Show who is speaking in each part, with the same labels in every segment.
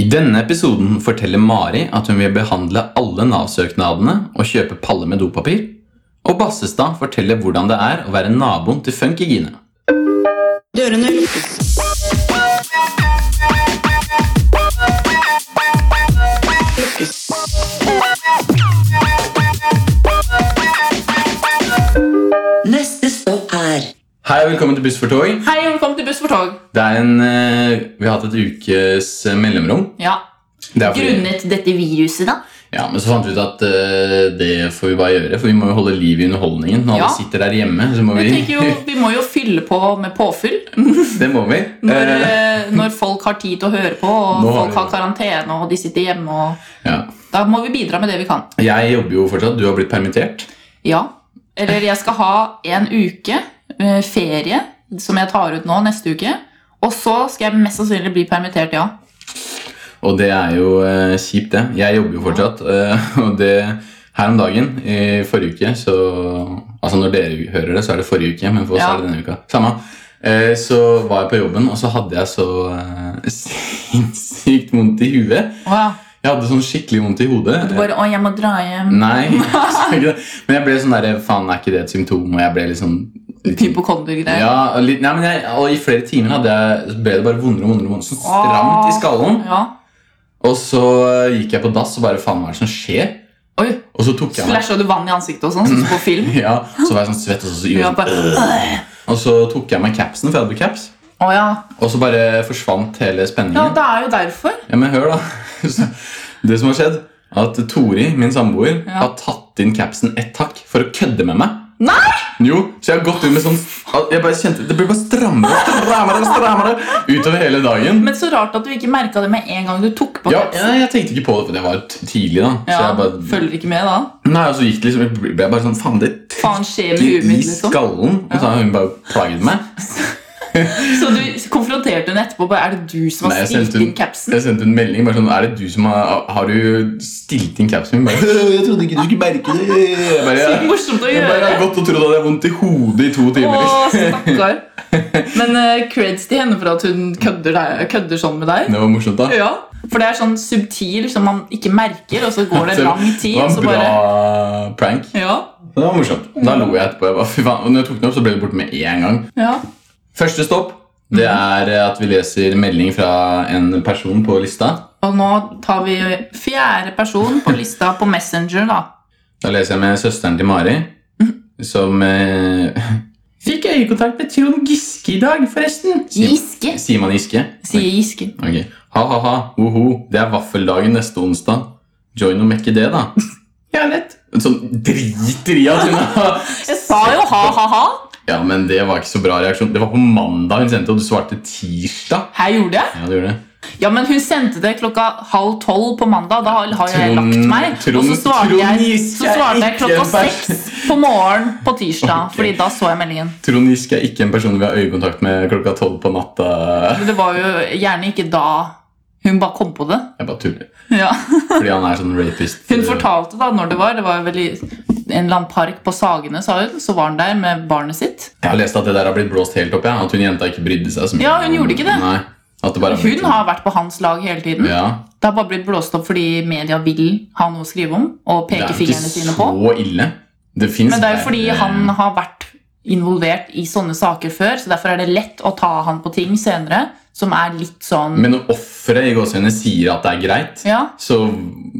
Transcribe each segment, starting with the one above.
Speaker 1: I denne episoden forteller Mari at hun vil behandle alle Nav-søknadene og kjøpe paller med dopapir. Og Bassestad forteller hvordan det er å være naboen til Funkygine.
Speaker 2: Dørene lukkes. Lukkes. Neste stopp er
Speaker 1: Hei og velkommen til Buss for tog.
Speaker 3: Hei og velkommen til Buss for tog.
Speaker 1: Det er en, eh, vi har hatt et ukes eh, mellomrom.
Speaker 3: Ja,
Speaker 1: Det er fordi-
Speaker 3: Grunnet dette viruset, da.
Speaker 1: Ja, Men så fant vi ut at eh, det får vi bare gjøre, for vi må jo holde liv i underholdningen. Når
Speaker 3: Ja.
Speaker 1: alle sitter der hjemme, så må
Speaker 3: Jeg
Speaker 1: vi
Speaker 3: tenker jo, Vi må jo fylle på med påfyll
Speaker 1: Det må vi.
Speaker 3: når,
Speaker 1: Eh,
Speaker 3: eh, når folk har tid til å høre på, og
Speaker 1: Nå har
Speaker 3: folk
Speaker 1: vi-
Speaker 3: har karantene og de sitter hjemme. og
Speaker 1: ja.
Speaker 3: Da må vi bidra med det vi kan.
Speaker 1: Jeg jobber jo fortsatt. Du har blitt permittert.
Speaker 3: Ja. Eller jeg skal ha en uke eh, ferie som jeg tar ut nå neste uke. Og så skal jeg mest sannsynlig bli permittert, ja.
Speaker 1: Og det er jo eh, kjipt, det. Jeg jobber jo fortsatt. eh, og det her om dagen, i forrige uke, så Altså når dere hører det, så er det forrige uke, men for oss
Speaker 3: Ja.
Speaker 1: er det denne uka. Samme. Eh, så var jeg på jobben, og så hadde jeg så eh, sinnssykt vondt i huet.
Speaker 3: Å ja.
Speaker 1: Jeg hadde sånn skikkelig vondt i hodet. Eh,
Speaker 3: Du bare 'Å, jeg må dra hjem'.
Speaker 1: Nei, så er ikke det. men jeg ble sånn derre Faen, er ikke det et symptom? Og jeg ble litt sånn litt-
Speaker 3: Hypokonder-greier.
Speaker 1: ja, og litt, nei, men jeg, og I flere timer hadde jeg, ble det bare vondere og vondere. og vondere, Sånn stramt i skallen.
Speaker 3: Ja.
Speaker 1: Og så eh, gikk jeg på dass og bare faen, hva er det som skjer?
Speaker 3: Oi,
Speaker 1: Og så tok jeg meg
Speaker 3: Splæsja du vann i ansiktet og sånn, sånn som på film?
Speaker 1: ja, Så var jeg sånn svett, og så,
Speaker 3: Ja,
Speaker 1: gjorde jeg
Speaker 3: bare, «Åh».
Speaker 1: sånn, og så tok jeg meg capsen, for jeg hadde på caps.
Speaker 3: Å ja.
Speaker 1: Og så bare forsvant hele
Speaker 3: ja,
Speaker 1: spenningen.
Speaker 3: det er jo derfor.
Speaker 1: Ja, Men hør, da. Så, Det som har skjedd, at Tori, min samboer,
Speaker 3: Ja.
Speaker 1: har tatt inn capsen ett hakk for å kødde med meg.
Speaker 3: Nei!
Speaker 1: Jo, så jeg har gått ut med sånn Jeg bare kjente, Det ble bare strammere og strammere, og strammere utover hele dagen.
Speaker 3: Men så rart at du ikke merka det med en gang du tok på
Speaker 1: Ja,
Speaker 3: kapsen.
Speaker 1: jeg, jeg tenkte ikke på det, for det var t- tidlig. da Så
Speaker 3: Ja,
Speaker 1: jeg bare,
Speaker 3: Følger ikke med da.
Speaker 1: Nei, og så gikk det liksom Jeg ble bare sånn Faen, det
Speaker 3: Faen skjer med huet
Speaker 1: trykker i
Speaker 3: mitt, liksom.
Speaker 1: skallen. Og så har hun bare plaget meg.
Speaker 3: Så du konfronterte hun etterpå. Bare, er det du som
Speaker 1: Nei,
Speaker 3: har
Speaker 1: jeg sendte
Speaker 3: stilt
Speaker 1: hun-
Speaker 3: inn capsen?
Speaker 1: Jeg sendte en melding bare sånn Er det du som har Har du stilt inn capsen min? Bare, «Øh, Jeg trodde ikke du skulle merke det. Jeg bare,
Speaker 3: Så
Speaker 1: jeg,
Speaker 3: morsomt å
Speaker 1: jeg bare
Speaker 3: gjøre.
Speaker 1: har gått og trodd at jeg har vondt i hodet i to
Speaker 3: Å,
Speaker 1: timer. liksom.
Speaker 3: stakkar. Men eh, creds til henne for at hun kødder, deg, kødder sånn med deg.
Speaker 1: Det var morsomt, da.
Speaker 3: Ja, For det er sånn subtil som man ikke merker, og så går det
Speaker 1: Så
Speaker 3: lang tid.
Speaker 1: Det var
Speaker 3: Og
Speaker 1: en
Speaker 3: så
Speaker 1: bra
Speaker 3: bare,
Speaker 1: prank.
Speaker 3: ja,
Speaker 1: Det var morsomt. Da lo jeg etterpå. Jeg bare, fy faen. Og når jeg tok den opp, så ble det borte med en gang.
Speaker 3: ja.
Speaker 1: Første stopp det
Speaker 3: Mhm.
Speaker 1: er at vi leser melding fra en person på lista.
Speaker 3: Og nå tar vi fjerde person på lista på Messenger, da.
Speaker 1: Da leser jeg med søsteren til Mari, som eh, Fikk øyekontakt med Trond Giske i dag, forresten. Sier-
Speaker 3: Giske,
Speaker 1: Sier man Giske?
Speaker 3: sier Giske.
Speaker 1: Ok. Ha-ha-ha, hoho, det er vaffeldagen neste onsdag. Join og mekke det, da. Ja, lett. Sånn driter i at hun har
Speaker 3: Jeg sa jo ha-ha-ha.
Speaker 1: Ja, men det var ikke så bra reaksjon. Det var på mandag hun sendte, og du svarte tirsdag.
Speaker 3: Her gjorde jeg.
Speaker 1: Ja, du gjorde det.
Speaker 3: Ja, men hun sendte det klokka halv tolv på mandag. Da har har jeg
Speaker 1: Trond-
Speaker 3: lagt meg. Og så
Speaker 1: Trond-
Speaker 3: svarte
Speaker 1: Trond
Speaker 3: jeg,
Speaker 1: Giske
Speaker 3: så svarte jeg
Speaker 1: er ikke
Speaker 3: klokka
Speaker 1: en pers-
Speaker 3: seks på morgenen på tirsdag.
Speaker 1: Ok.
Speaker 3: Fordi da så jeg meldingen.
Speaker 1: Trond Giske er ikke en person vi har øyekontakt med klokka tolv på natta.
Speaker 3: Men det var jo gjerne ikke da hun bare kom på det.
Speaker 1: Jeg bare tuller.
Speaker 3: Ja.
Speaker 1: Fordi han er sånn rapist.
Speaker 3: Hun fortalte da når det var. Det var vel i en eller annen park på Sagene, sa hun. Så var hun der med barnet sitt.
Speaker 1: Jeg har lest at det der har blitt blåst helt opp, ja. At hun jenta ikke brydde seg så mye.
Speaker 3: Ja, hun gjorde ikke det.
Speaker 1: Nei. At det bare
Speaker 3: Hun har vært på hans lag hele tiden.
Speaker 1: ja,
Speaker 3: Det har bare blitt blåst opp fordi media vil ha noe å skrive om og
Speaker 1: Det
Speaker 3: peke
Speaker 1: er jo ikke
Speaker 3: fingrene sine på.
Speaker 1: så ille. Det finnes
Speaker 3: Men det er jo
Speaker 1: verre-
Speaker 3: fordi han har vært involvert i sånne saker før, så derfor er det lett å ta han på ting senere som er litt sånn
Speaker 1: Men når offeret i gåsehudene sier at det er greit,
Speaker 3: Ja,
Speaker 1: så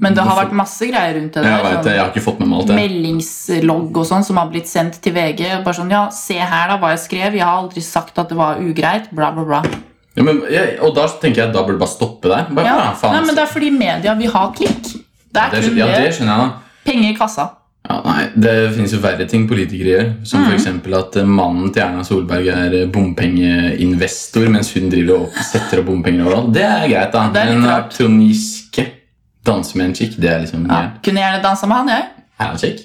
Speaker 3: men det har vært masse greier rundt det.
Speaker 1: Jeg
Speaker 3: der,
Speaker 1: vet det, jeg har ikke fått med meg alt
Speaker 3: sånn
Speaker 1: det.
Speaker 3: Meldingslogg og sånn som har blitt sendt til VG. Bare sånn, ja, se her da, hva jeg skrev. Jeg har aldri sagt at det var ugreit. Bla, bla, bla.
Speaker 1: Ja, men, jeg, og da tenker jeg at da burde du bare stoppe der. Bare,
Speaker 3: Ja.
Speaker 1: ja, faen.
Speaker 3: Nei, men det er fordi media vil ha klikk. Det er
Speaker 1: det,
Speaker 3: kun
Speaker 1: ja, det
Speaker 3: det.
Speaker 1: skjønner jeg, da.
Speaker 3: Penger i kassa.
Speaker 1: Ja, nei, Det finnes jo verre ting politikere gjør. Som
Speaker 3: Mm.
Speaker 1: for f.eks. at eh, mannen til Erna Solberg er eh, bompengeinvestor, mens hun driver og setter opp bompenger overalt. Det er greit, da.
Speaker 3: Det er litt
Speaker 1: Men
Speaker 3: rart.
Speaker 1: Trond Giske danse med en chick, det er liksom
Speaker 3: Ja.
Speaker 1: ja.
Speaker 3: Kunne gjerne dansa med han, jeg.
Speaker 1: Er han chick?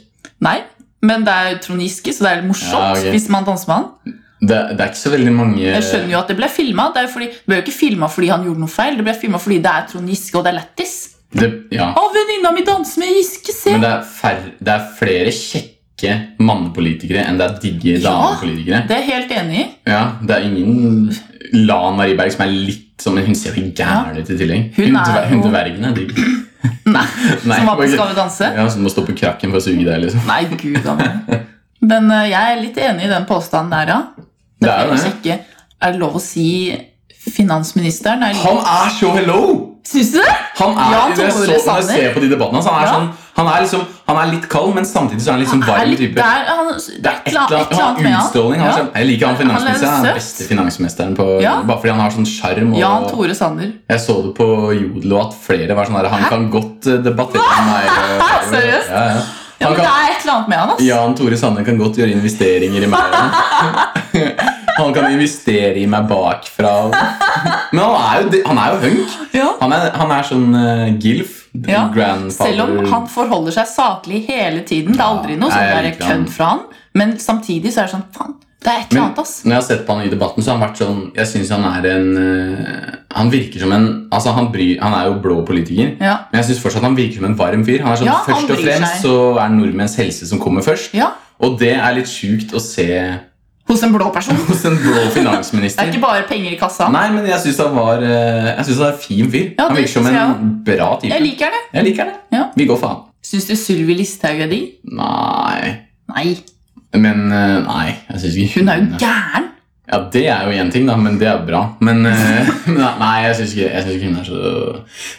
Speaker 3: Nei, men det er Trond Giske, så det er litt morsomt
Speaker 1: Ja, ok.
Speaker 3: hvis man danser med han.
Speaker 1: Det, det er ikke så veldig mange
Speaker 3: Jeg skjønner jo at det ble filma. Det, er jo fordi- det ble jo ikke filma fordi han gjorde noe feil. Det ble filma fordi det er Trond Giske, og det er lættis.
Speaker 1: det, ja.
Speaker 3: Å, venninna mi danser med Giske, se!
Speaker 1: Men det er, færre, det er flere kjekke digge mannepolitikere enn det er digge
Speaker 3: Ja.
Speaker 1: damepolitikere.
Speaker 3: Det er jeg helt enig i.
Speaker 1: Ja, det er ingen Lan Marie Berg som er litt sånn men Hun ser jo gæren ut i tillegg.
Speaker 3: Hun
Speaker 1: Hun,
Speaker 3: er
Speaker 1: dver- hun
Speaker 3: jo-
Speaker 1: dvergen er digg.
Speaker 3: Nei,
Speaker 1: Nei,
Speaker 3: Som var på
Speaker 1: ok.
Speaker 3: Skal vi danse.
Speaker 1: Ja, Som må stå på krakken for å suge deg, liksom.
Speaker 3: Nei, gud da meg. Men eh, jeg er litt enig i den påstanden der, ja.
Speaker 1: Det er jo
Speaker 3: Hvis
Speaker 1: det.
Speaker 3: ikke er det lov å si finansministeren? Er
Speaker 1: Han er så hello!
Speaker 3: Syns du det?
Speaker 1: Han er,
Speaker 3: Jan
Speaker 1: når jeg så,
Speaker 3: Tore
Speaker 1: når jeg
Speaker 3: Sanner.
Speaker 1: ser på de debattene hans, han er,
Speaker 3: Ja.
Speaker 1: sånn, han er, liksom, han er litt kald, men samtidig så er han litt sånn
Speaker 3: Er
Speaker 1: varm
Speaker 3: litt-
Speaker 1: type.
Speaker 3: det er- han,
Speaker 1: Det er et eller
Speaker 3: et
Speaker 1: annet, han har
Speaker 3: med han.
Speaker 1: utstråling. Han er
Speaker 3: Ja.
Speaker 1: sånn- jeg liker han
Speaker 3: Han er
Speaker 1: finansministeren. Han er den
Speaker 3: søt.
Speaker 1: beste finansministeren på,
Speaker 3: Ja.
Speaker 1: Bare fordi han har sånn sjarm. og-
Speaker 3: Jan Tore Sander.
Speaker 1: Jeg så det på Jodel, og at flere var sånn der, Han kan godt eh, debattere med meg. eh,
Speaker 3: Seriøst?
Speaker 1: Ja, ja.
Speaker 3: Ja,
Speaker 1: Han
Speaker 3: men det
Speaker 1: kan,
Speaker 3: er et eller annet med han, ass.
Speaker 1: Jan Tore Sanner kan godt gjøre investeringer i meg. Han kan investere i meg bakfra. Men han er jo, det- han er jo hunk.
Speaker 3: Ja.
Speaker 1: Han er, han er sånn eh, gilf.
Speaker 3: Ja,
Speaker 1: Grandfather.
Speaker 3: Selv om han forholder seg saklig hele tiden. Det er aldri noe
Speaker 1: Nei,
Speaker 3: sånn
Speaker 1: jeg
Speaker 3: der
Speaker 1: liker han.
Speaker 3: kødd fra han. Men samtidig så er det sånn Faen, det er et eller
Speaker 1: Men
Speaker 3: annet, ass.
Speaker 1: når jeg har sett på han i debatten, så har han vært sånn Jeg synes han er en eh, Han virker som en Altså, han, bryr, han er jo blå politiker.
Speaker 3: Ja.
Speaker 1: Men jeg synes fortsatt han virker som en varm fyr. Han er sånn,
Speaker 3: Ja, han
Speaker 1: Først og
Speaker 3: bryr seg.
Speaker 1: fremst så er det nordmenns helse som kommer først.
Speaker 3: ja.
Speaker 1: Og det er litt sjukt å se
Speaker 3: Hos en blå person.
Speaker 1: hos en blå
Speaker 3: Det er
Speaker 1: finansminister.
Speaker 3: ikke bare penger i kassa.
Speaker 1: Nei, men jeg syns han var eh, Jeg synes han er en fin fyr.
Speaker 3: Ja,
Speaker 1: han
Speaker 3: det
Speaker 1: virker som
Speaker 3: synes
Speaker 1: en
Speaker 3: jeg
Speaker 1: bra type.
Speaker 3: Jeg liker det.
Speaker 1: Jeg liker det.
Speaker 3: Ja.
Speaker 1: Vi går faen.
Speaker 3: Syns du Sylvi Listhaug er digg?
Speaker 1: Nei
Speaker 3: Nei.
Speaker 1: Men eh, nei, jeg synes ikke
Speaker 3: Hun er jo gæren.
Speaker 1: Ja, det er jo én ting, da, men det er bra. Men eh, nei, jeg syns ikke, jeg synes ikke hun er så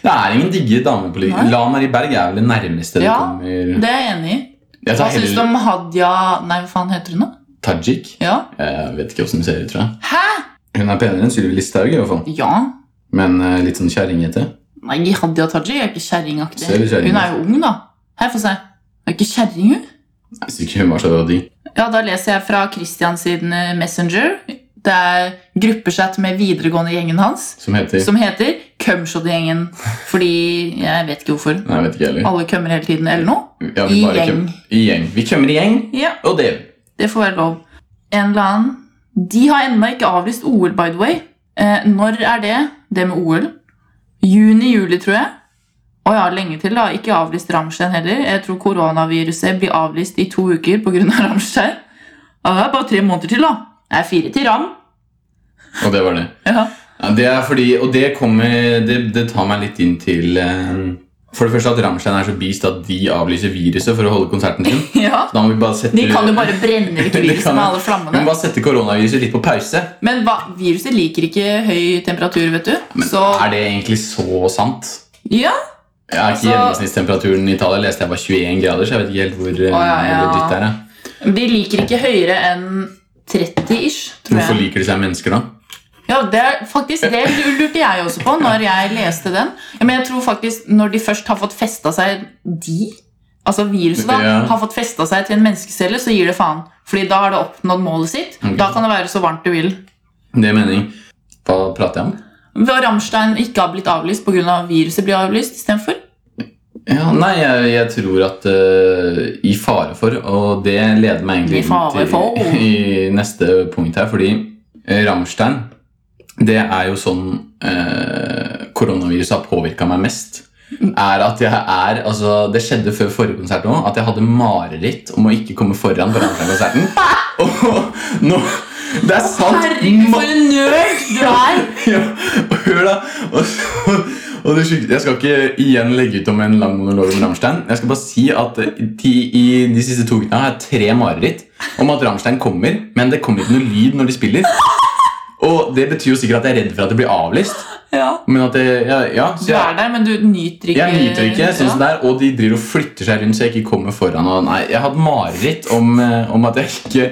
Speaker 1: Det er ingen digge damepolitikere.
Speaker 3: Nei.
Speaker 1: La Marie Berg er vel det nærmeste
Speaker 3: Ja,
Speaker 1: det kommer
Speaker 3: Det er jeg enig i.
Speaker 1: Jeg
Speaker 3: Hva
Speaker 1: tar
Speaker 3: syns du
Speaker 1: heller
Speaker 3: om Hadia Nei, hva faen heter hun nå?
Speaker 1: Tajik.
Speaker 3: Ja.
Speaker 1: Jeg vet ikke åssen hun ser ut, tror jeg.
Speaker 3: Hæ?
Speaker 1: Hun er penere enn Sylvi Listhaug, i hvert fall.
Speaker 3: Ja.
Speaker 1: Men eh, litt sånn kjerringete.
Speaker 3: Nei, Hadia Tajik er ikke kjerringaktig.
Speaker 1: Ser du kjerring?
Speaker 3: Hun er jo ung, da. Her, få se. Hun er ikke kjerring, hun.
Speaker 1: Jeg syns ikke hun var så digg.
Speaker 3: Ja, da leser jeg fra Christians sin eh, Messenger. Det er gruppechat med videregående-gjengen hans,
Speaker 1: Som heter
Speaker 3: som heter Cumshod-gjengen. Fordi jeg vet ikke hvorfor.
Speaker 1: Nei, jeg vet ikke heller.
Speaker 3: Alle kømmer hele tiden, eller noe.
Speaker 1: Ja, vi
Speaker 3: I
Speaker 1: bare
Speaker 3: gjeng.
Speaker 1: køm- I gjeng. Vi kommer i gjeng,
Speaker 3: Ja,
Speaker 1: og det gjør vi.
Speaker 3: det får være lov. En eller annen De har ennå ikke avlyst OL, by the way. Eh, når er det? Det med OL? Juni-juli, tror jeg. Å ja, lenge til, da. Ikke avlyst Ramstein heller. Jeg tror koronaviruset blir avlyst i to uker pga. Av Ramstein. Ja, det er bare tre måneder til, da. Det er fire til Ram.
Speaker 1: Og det var det.
Speaker 3: Ja.
Speaker 1: Ja, det er fordi, og det kommer Det, det tar meg litt inn til eh, For det første at Rammstein er så beast at de avlyser viruset for å holde konserten sin.
Speaker 3: Ja,
Speaker 1: Så Da må vi bare sette
Speaker 3: De kan jo bare brenne vekk
Speaker 1: Det
Speaker 3: viruset
Speaker 1: kan
Speaker 3: med
Speaker 1: jeg.
Speaker 3: alle
Speaker 1: vi må
Speaker 3: flammene.
Speaker 1: bare sette koronaviruset litt på pause.
Speaker 3: Men hva, viruset liker ikke høy temperatur, vet du. Så
Speaker 1: Er det egentlig så sant? Jeg
Speaker 3: ja,
Speaker 1: er ikke
Speaker 3: Altså-
Speaker 1: Gjennomsnittstemperaturen i Italia leste jeg var 21 grader, så jeg vet ikke helt hvor eh,
Speaker 3: ja, ja.
Speaker 1: legit det er. ja.
Speaker 3: de liker ikke høyere enn 30-ish, tror
Speaker 1: Hvorfor
Speaker 3: jeg.
Speaker 1: liker de seg mennesker, da?
Speaker 3: Ja, det er faktisk det lurte jeg også på når jeg leste den. Ja, men jeg tror faktisk når de først har fått festa seg De, altså viruset, da,
Speaker 1: Ja.
Speaker 3: har fått festa seg til en menneskecelle, så gir det faen. Fordi da har det oppnådd målet sitt.
Speaker 1: Ok.
Speaker 3: Da kan det være så varmt du vil.
Speaker 1: Det er mening. Hva prater jeg om?
Speaker 3: Hva Rammstein ikke har blitt avlyst pga. Av viruset blir avlyst istedenfor?
Speaker 1: Ja, nei, jeg, jeg tror at eh, i fare for, og det leder meg egentlig
Speaker 3: I fare
Speaker 1: inn
Speaker 3: for.
Speaker 1: til i neste punkt her, fordi eh, Rammstein, det er jo sånn eh, koronaviruset har påvirket meg mest, er at jeg er, altså det skjedde før forrige konsert også, at jeg hadde mareritt om å ikke komme foran på Rammstein-konserten. Og nå, det er sant,
Speaker 3: Herregud, for en nerd du er!
Speaker 1: ja, og hør da og, og det sykeste, Jeg skal ikke igjen legge ut om en lang monolog om Rammstein. Jeg skal bare si at eh, de, i de siste to ukene har jeg tre mareritt om at Rammstein kommer, men det kommer ikke noe lyd når de spiller. Og det betyr jo sikkert at jeg er redd for at det blir avlyst.
Speaker 3: Ja.
Speaker 1: Men at det, ja, ja, så
Speaker 3: Du
Speaker 1: jeg,
Speaker 3: er der, men du nyter ikke
Speaker 1: jeg nyter ikke sånn som det er, og de driver og flytter seg rundt så jeg ikke kommer foran. Og nei, Jeg hadde mareritt om, eh, om at jeg ikke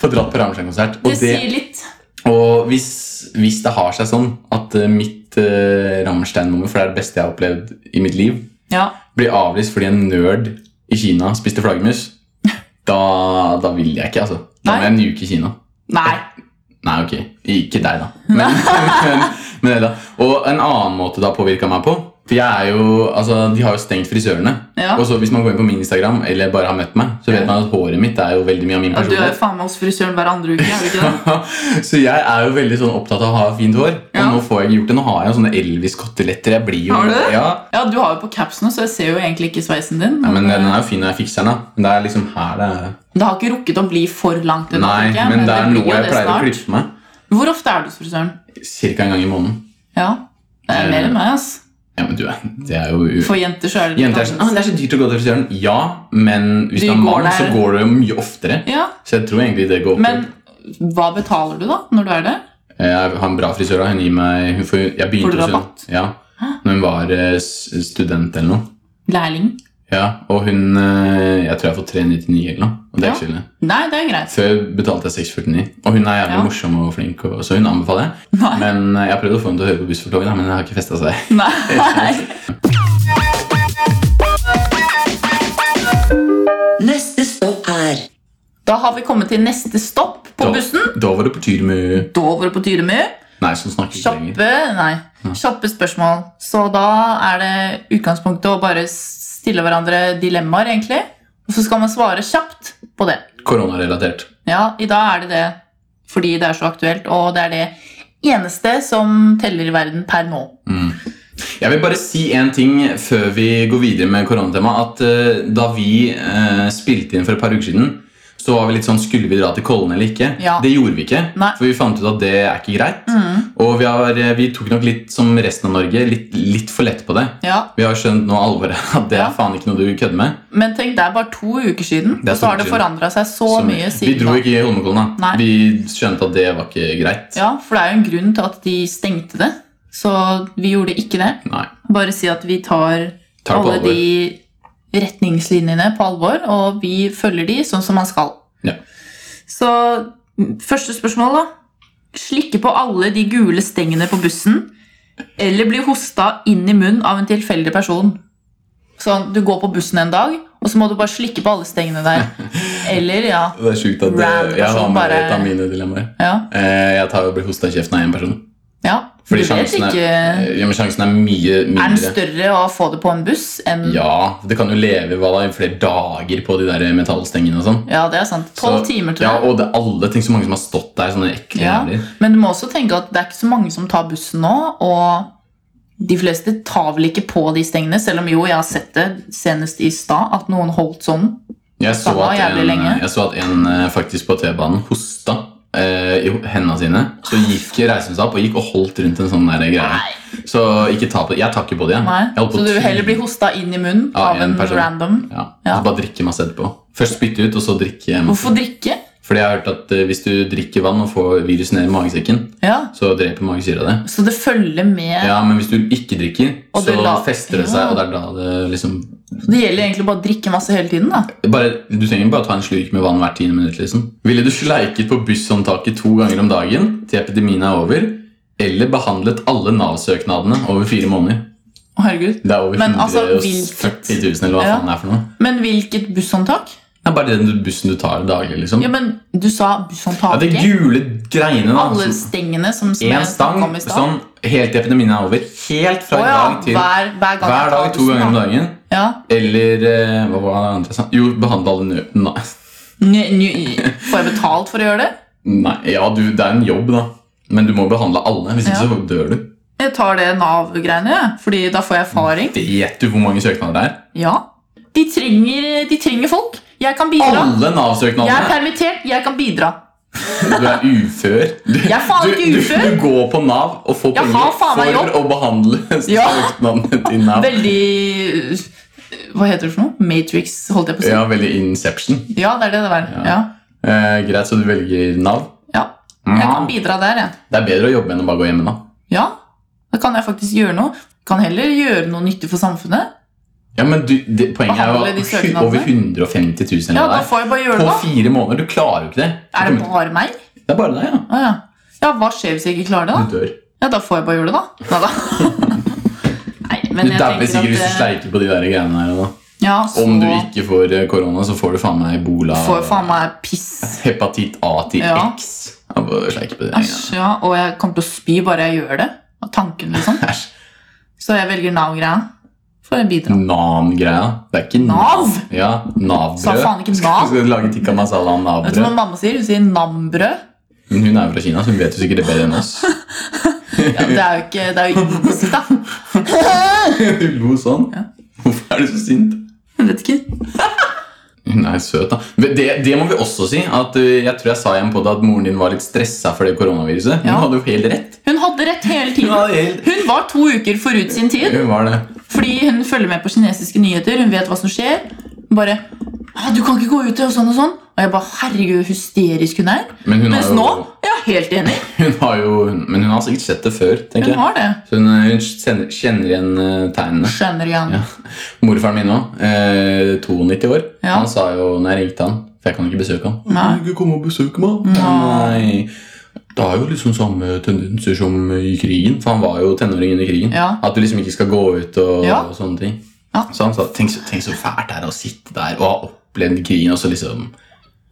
Speaker 1: får dratt på Rammstein-konsert. og
Speaker 3: Det sier litt.
Speaker 1: og hvis, hvis det har seg sånn at eh, mitt uh, Rammstein-nummer, for det er det beste jeg har opplevd i mitt liv,
Speaker 3: Ja.
Speaker 1: blir avlyst fordi en nerd i Kina spiste flaggermus, da, da vil jeg ikke, altså. Da må jeg nuke Kina.
Speaker 3: Nei.
Speaker 1: Nei, ok. Ikke deg, da. Men, men, men, det da. Og en annen måte det har påvirka meg på, For jeg er jo, altså, De har jo stengt frisørene.
Speaker 3: Ja.
Speaker 1: Og så Hvis man går inn på min Instagram eller bare har møtt meg, så vet
Speaker 3: Ja.
Speaker 1: man at håret mitt er jo veldig mye av min
Speaker 3: Ja, du er jo
Speaker 1: personlighet.
Speaker 3: faen meg hos frisøren hver andre uke. er du ikke det?
Speaker 1: så jeg er jo veldig sånn opptatt av å ha fint hår.
Speaker 3: Ja.
Speaker 1: Og nå får jeg ikke gjort det. Nå har jeg jo sånne Elvis-koteletter. Jeg blir jo
Speaker 3: Har du det?
Speaker 1: Ja.
Speaker 3: Ja, Du har jo på caps nå, så jeg ser jo egentlig ikke sveisen din. eh,
Speaker 1: Ja, men Den er jo fin når jeg fikser den. da Men det er liksom her det er
Speaker 3: Det har ikke rukket å bli for langt. ennå,
Speaker 1: Nei,
Speaker 3: tenker jeg,
Speaker 1: men det er
Speaker 3: blir
Speaker 1: nå
Speaker 3: jo
Speaker 1: jeg
Speaker 3: det
Speaker 1: pleier å
Speaker 3: snart.
Speaker 1: klippe meg.
Speaker 3: Hvor ofte er du hos frisøren?
Speaker 1: Cirka en gang i måneden.
Speaker 3: Ja, Det er mer
Speaker 1: Eh,
Speaker 3: enn meg. ass.
Speaker 1: Ja, men du, det er jo
Speaker 3: For jenter så er det litt
Speaker 1: Jenter er sånn, ah, det er så dyrt å gå til frisøren. Ja, men hvis
Speaker 3: Du
Speaker 1: du er
Speaker 3: går
Speaker 1: mann,
Speaker 3: der.
Speaker 1: så går du jo mye oftere.
Speaker 3: Ja,
Speaker 1: Så jeg tror egentlig det går opp. Eh,
Speaker 3: Men hva betaler du, da? når du er der?
Speaker 1: Jeg har en bra frisør. da. Hun gir meg, hun får, jeg begynte
Speaker 3: Får du
Speaker 1: hos hun-
Speaker 3: rabatt?
Speaker 1: Ja, når hun var eh, s- student eller noe.
Speaker 3: Lærling?
Speaker 1: Ja, og hun, eh, jeg tror jeg har fått 399 eller noe. Og det er ikke så ille.
Speaker 3: Nei, det er greit.
Speaker 1: Før betalte jeg 649. Og hun er jævlig
Speaker 3: Ja.
Speaker 1: morsom og flink, og, så hun anbefaler jeg.
Speaker 3: Nei.
Speaker 1: Men eh, jeg har prøvd å få henne til å høre på Buss for toget, da, men det har ikke festa seg.
Speaker 3: Nei.
Speaker 2: Neste stopp er
Speaker 3: Da har vi kommet til neste stopp på
Speaker 1: Da-
Speaker 3: bussen.
Speaker 1: Da var det på tur med
Speaker 3: Da var det på Tyremø.
Speaker 1: Nei, som snakker ikke lenger.
Speaker 3: Kjappe, nei, kjappe spørsmål. Så da er det utgangspunktet å bare stille hverandre dilemmaer, egentlig. Og så skal man svare kjapt på det.
Speaker 1: Koronarelatert.
Speaker 3: Ja, i dag er det det fordi det er så aktuelt, og det er det eneste som teller i verden per nå.
Speaker 1: Jeg vil bare si en ting før vi går videre med koronatema. At eh, da vi eh, spilte inn for et par uker siden, så var vi litt sånn Skulle vi dra til Kollen eller ikke?
Speaker 3: Ja.
Speaker 1: Det gjorde vi ikke.
Speaker 3: Nei. Mm.
Speaker 1: For vi fant ut at det er ikke greit. Og vi, har, eh, vi tok nok litt, som resten av Norge, litt, litt for lett på det.
Speaker 3: Ja,
Speaker 1: Vi har skjønt nå alvoret. At det
Speaker 3: Ja.
Speaker 1: er faen ikke noe du kødder med.
Speaker 3: Men tenk, det er bare to uker siden,
Speaker 1: Det er
Speaker 3: og så
Speaker 1: to
Speaker 3: har det
Speaker 1: uker siden.
Speaker 3: forandra seg så,
Speaker 1: Så
Speaker 3: mye
Speaker 1: vi
Speaker 3: siden.
Speaker 1: dro
Speaker 3: da.
Speaker 1: ikke i Holmenkollen, da.
Speaker 3: Nei.
Speaker 1: Vi skjønte at det var ikke greit.
Speaker 3: Ja, For det er jo en grunn til at de stengte det. Så vi gjorde ikke det.
Speaker 1: Nei.
Speaker 3: Bare si at vi tar,
Speaker 1: Tar det på
Speaker 3: alle
Speaker 1: alvor.
Speaker 3: de retningslinjene på alvor, og vi følger de sånn som man skal.
Speaker 1: Ja.
Speaker 3: Så m, første spørsmål, da. Slikke på alle de gule stengene på bussen, eller bli hosta inn i munnen av en tilfeldig person. Sånn, du går på bussen en dag, og så må du bare slikke på alle stengene der. Eller, ja.
Speaker 1: Det er sjukt at det, jeg
Speaker 3: Random
Speaker 1: har
Speaker 3: person,
Speaker 1: med
Speaker 3: bare-
Speaker 1: et av mine dilemmaer.
Speaker 3: ja,
Speaker 1: Eh, jeg tar jo og blir hosta i kjeften av én person.
Speaker 3: ja.
Speaker 1: Fordi
Speaker 3: du vet
Speaker 1: sjansen er,
Speaker 3: ikke
Speaker 1: ja, men sjansen er mye
Speaker 3: Er den
Speaker 1: mindre.
Speaker 3: større å få det på en buss enn
Speaker 1: Ja, det kan jo leve hva da, i flere dager på de der metallstengene og sånn.
Speaker 3: Ja, det er sant. Tolv
Speaker 1: Så-
Speaker 3: timer, tror
Speaker 1: Ja,
Speaker 3: jeg.
Speaker 1: og det er alle ting så mange som har stått der, sånne ekle
Speaker 3: Ja.
Speaker 1: jævler.
Speaker 3: Men du må også tenke at det er ikke så mange som tar bussen nå, og de fleste tar vel ikke på de stengene, selv om jo, jeg har sett det senest i stad, at noen holdt sånn.
Speaker 1: Jeg så,
Speaker 3: Samme
Speaker 1: at
Speaker 3: jævlig
Speaker 1: en,
Speaker 3: lenge.
Speaker 1: jeg så at en eh, faktisk på T-banen hosta eh, i hendene sine. Så gikk reiste hun seg opp og gikk og holdt rundt en sånn der greie.
Speaker 3: Nei,
Speaker 1: Så ikke ta på det. Jeg tar ikke på det. jeg.
Speaker 3: nei.
Speaker 1: Mm. Jeg holdt på
Speaker 3: Så du
Speaker 1: å
Speaker 3: vil heller
Speaker 1: tryne.
Speaker 3: bli hosta inn i munnen
Speaker 1: Av
Speaker 3: av
Speaker 1: en
Speaker 3: en
Speaker 1: person. Mm.
Speaker 3: random?
Speaker 1: ja.
Speaker 3: Ja.
Speaker 1: Bare drikke masse etterpå. Først spytte ut, og så drikke.
Speaker 3: Hvorfor drikke?
Speaker 1: Fordi jeg har hørt at eh, hvis du drikker vann og får viruset ned i magesekken,
Speaker 3: Ja,
Speaker 1: så dreper magesyra det.
Speaker 3: Så det følger med
Speaker 1: Ja, men hvis du ikke drikker,
Speaker 3: Og
Speaker 1: så
Speaker 3: du la-
Speaker 1: fester det
Speaker 3: Ja.
Speaker 1: seg, og det er da det liksom
Speaker 3: Det gjelder egentlig bare å drikke masse hele tiden, da.
Speaker 1: bare, Du trenger bare ta en slurk med vann hvert tiende minutt, liksom. Ville du sleiket på busshåndtaket to ganger om dagen til epidemien er over, eller behandlet alle Nav-søknadene over fire måneder?
Speaker 3: Å, herregud.
Speaker 1: Det er over
Speaker 3: Men altså,
Speaker 1: 140 000, eller hva
Speaker 3: Ja.
Speaker 1: faen det er for noe.
Speaker 3: Men hvilket busshåndtak?
Speaker 1: Det er bare den bussen du tar daglig, liksom. Ja,
Speaker 3: Ja, men du sa
Speaker 1: det
Speaker 3: busshåndtaket.
Speaker 1: gule greiene, da.
Speaker 3: Alle
Speaker 1: som-
Speaker 3: stengene som som
Speaker 1: En
Speaker 3: jeg
Speaker 1: stang
Speaker 3: snakket om i stad.
Speaker 1: sånn helt til epidemien er over. Helt fra
Speaker 3: Å
Speaker 1: i
Speaker 3: ja,
Speaker 1: dag til hver,
Speaker 3: hver, hver gang. jeg tar
Speaker 1: dag to
Speaker 3: bussen,
Speaker 1: ganger om
Speaker 3: da.
Speaker 1: dagen.
Speaker 3: Ja.
Speaker 1: Eller eh, hva var det andre jeg sa? Jo, behandle alle nø... Nei.
Speaker 3: Ny- ny- Får jeg betalt for å gjøre det?
Speaker 1: Nei. Ja, du, det er en jobb, da. Men du må behandle alle, hvis ikke
Speaker 3: Ja.
Speaker 1: så dør du.
Speaker 3: Jeg tar det Nav-greiene, jeg, fordi da får jeg erfaring.
Speaker 1: Vet du hvor mange søknader det er?
Speaker 3: Ja. De trenger, de trenger folk. Jeg kan bidra.
Speaker 1: Alle
Speaker 3: Jeg er
Speaker 1: Nav-søknadene!
Speaker 3: permittert, jeg kan bidra.
Speaker 1: Du er ufør. Du,
Speaker 3: Jeg er faen
Speaker 1: du-
Speaker 3: ikke ufør.
Speaker 1: Du, du går på Nav og får
Speaker 3: Jeg har
Speaker 1: penger
Speaker 3: faen meg jobb.
Speaker 1: for å behandle
Speaker 3: Ja.
Speaker 1: søknadene til Nav.
Speaker 3: Veldig øh, Hva heter det for noe? Matrix, holdt jeg på å si. Ja,
Speaker 1: Ja, veldig Inception.
Speaker 3: det er det det var. Ja.
Speaker 1: Eh, greit, så du velger Nav. Mm.
Speaker 3: ja. Jeg kan bidra der, jeg.
Speaker 1: Det er bedre å jobbe enn å bare gå hjemme, da.
Speaker 3: Ja. Da kan jeg faktisk gjøre noe. Kan heller gjøre noe nyttig for samfunnet.
Speaker 1: Ja, men du, det, Poenget er jo
Speaker 3: Behandle de søknadene.
Speaker 1: at over 150 000 eller
Speaker 3: Ja,
Speaker 1: hva
Speaker 3: da
Speaker 1: det er.
Speaker 3: får jeg bare gjøre
Speaker 1: På
Speaker 3: det. da.
Speaker 1: fire måneder. Du klarer jo ikke det.
Speaker 3: Er det bare meg?
Speaker 1: Det er bare deg, ja.
Speaker 3: Å ja. Ja, hva skjer hvis jeg ikke klarer det, da?
Speaker 1: Du dør.
Speaker 3: Ja, da får jeg bare gjøre det, da. Neida. Nei,
Speaker 1: Du
Speaker 3: men jeg
Speaker 1: dauer
Speaker 3: tenker
Speaker 1: sikkert hvis du
Speaker 3: at eh,
Speaker 1: sleiker på de der greiene her. Da.
Speaker 3: ja, så
Speaker 1: Om du ikke får eh, korona, så får du faen meg ebola.
Speaker 3: får faen meg piss.
Speaker 1: Hepatitt A til
Speaker 3: Ja.
Speaker 1: X. Ja, bare sleike på de der
Speaker 3: Æsj, ja. Og jeg kommer til å spy bare jeg gjør det. Av tanken, liksom.
Speaker 1: greiene. Æsj.
Speaker 3: Så jeg velger Nav-greia. For jeg bidrar.
Speaker 1: Nan-greia. Det er ikke
Speaker 3: Nav?
Speaker 1: Ja,
Speaker 3: Sa
Speaker 1: Nav-brød.
Speaker 3: faen ikke
Speaker 1: Skal
Speaker 3: Nav?
Speaker 1: du lage tikka masala av
Speaker 3: Vet du hva
Speaker 1: Nav-brød?
Speaker 3: mamma sier? Hun sier nambrød.
Speaker 1: Men Hun er jo fra Kina, så hun vet jo sikkert det bedre enn oss.
Speaker 3: Ja, det er jo ikke Det er jo indisk, da.
Speaker 1: Du lo sånn.
Speaker 3: Ja.
Speaker 1: Hvorfor er du så sint?
Speaker 3: Jeg vet ikke.
Speaker 1: Hun er søt, da. Men Det, det må vi også si. at uh, Jeg tror jeg sa igjen på det at moren din var litt stressa for det koronaviruset. Hun
Speaker 3: Ja.
Speaker 1: hadde jo helt rett.
Speaker 3: Hun hadde rett hele
Speaker 1: Hun
Speaker 3: tiden.
Speaker 1: hadde helt
Speaker 3: Hun var to uker forut sin tid
Speaker 1: Hun var det.
Speaker 3: fordi hun følger med på kinesiske nyheter. Hun vet hva som skjer. Bare «Ah, 'Du kan ikke gå ut', og sånn og sånn. Og jeg bare Herregud, hvor hysterisk hun er.
Speaker 1: Men hun, har
Speaker 3: Mens
Speaker 1: jo,
Speaker 3: nå jeg er helt enig.
Speaker 1: hun har jo Men hun har sikkert sett det før, tenker
Speaker 3: Hun
Speaker 1: jeg.
Speaker 3: har det.
Speaker 1: Så hun, hun kjenner, kjenner igjen eh, tegnene.
Speaker 3: Skjønner igjen.
Speaker 1: Ja. Morfaren min òg, eh, 92 år,
Speaker 3: Ja.
Speaker 1: han sa jo når jeg ringte han For jeg kan ikke besøke han.
Speaker 3: Nei.
Speaker 1: Kan du ikke komme og besøke meg?
Speaker 3: Nei.
Speaker 1: Det er jo liksom samme tendenser som i krigen, for han var jo tenåring under krigen.
Speaker 3: Ja.
Speaker 1: At du liksom ikke skal gå ut og,
Speaker 3: Ja.
Speaker 1: og sånne ting.
Speaker 3: Ja.
Speaker 1: Så han sa tenk så, tenk så fælt det er å sitte der og ha opplevd krigen, og så liksom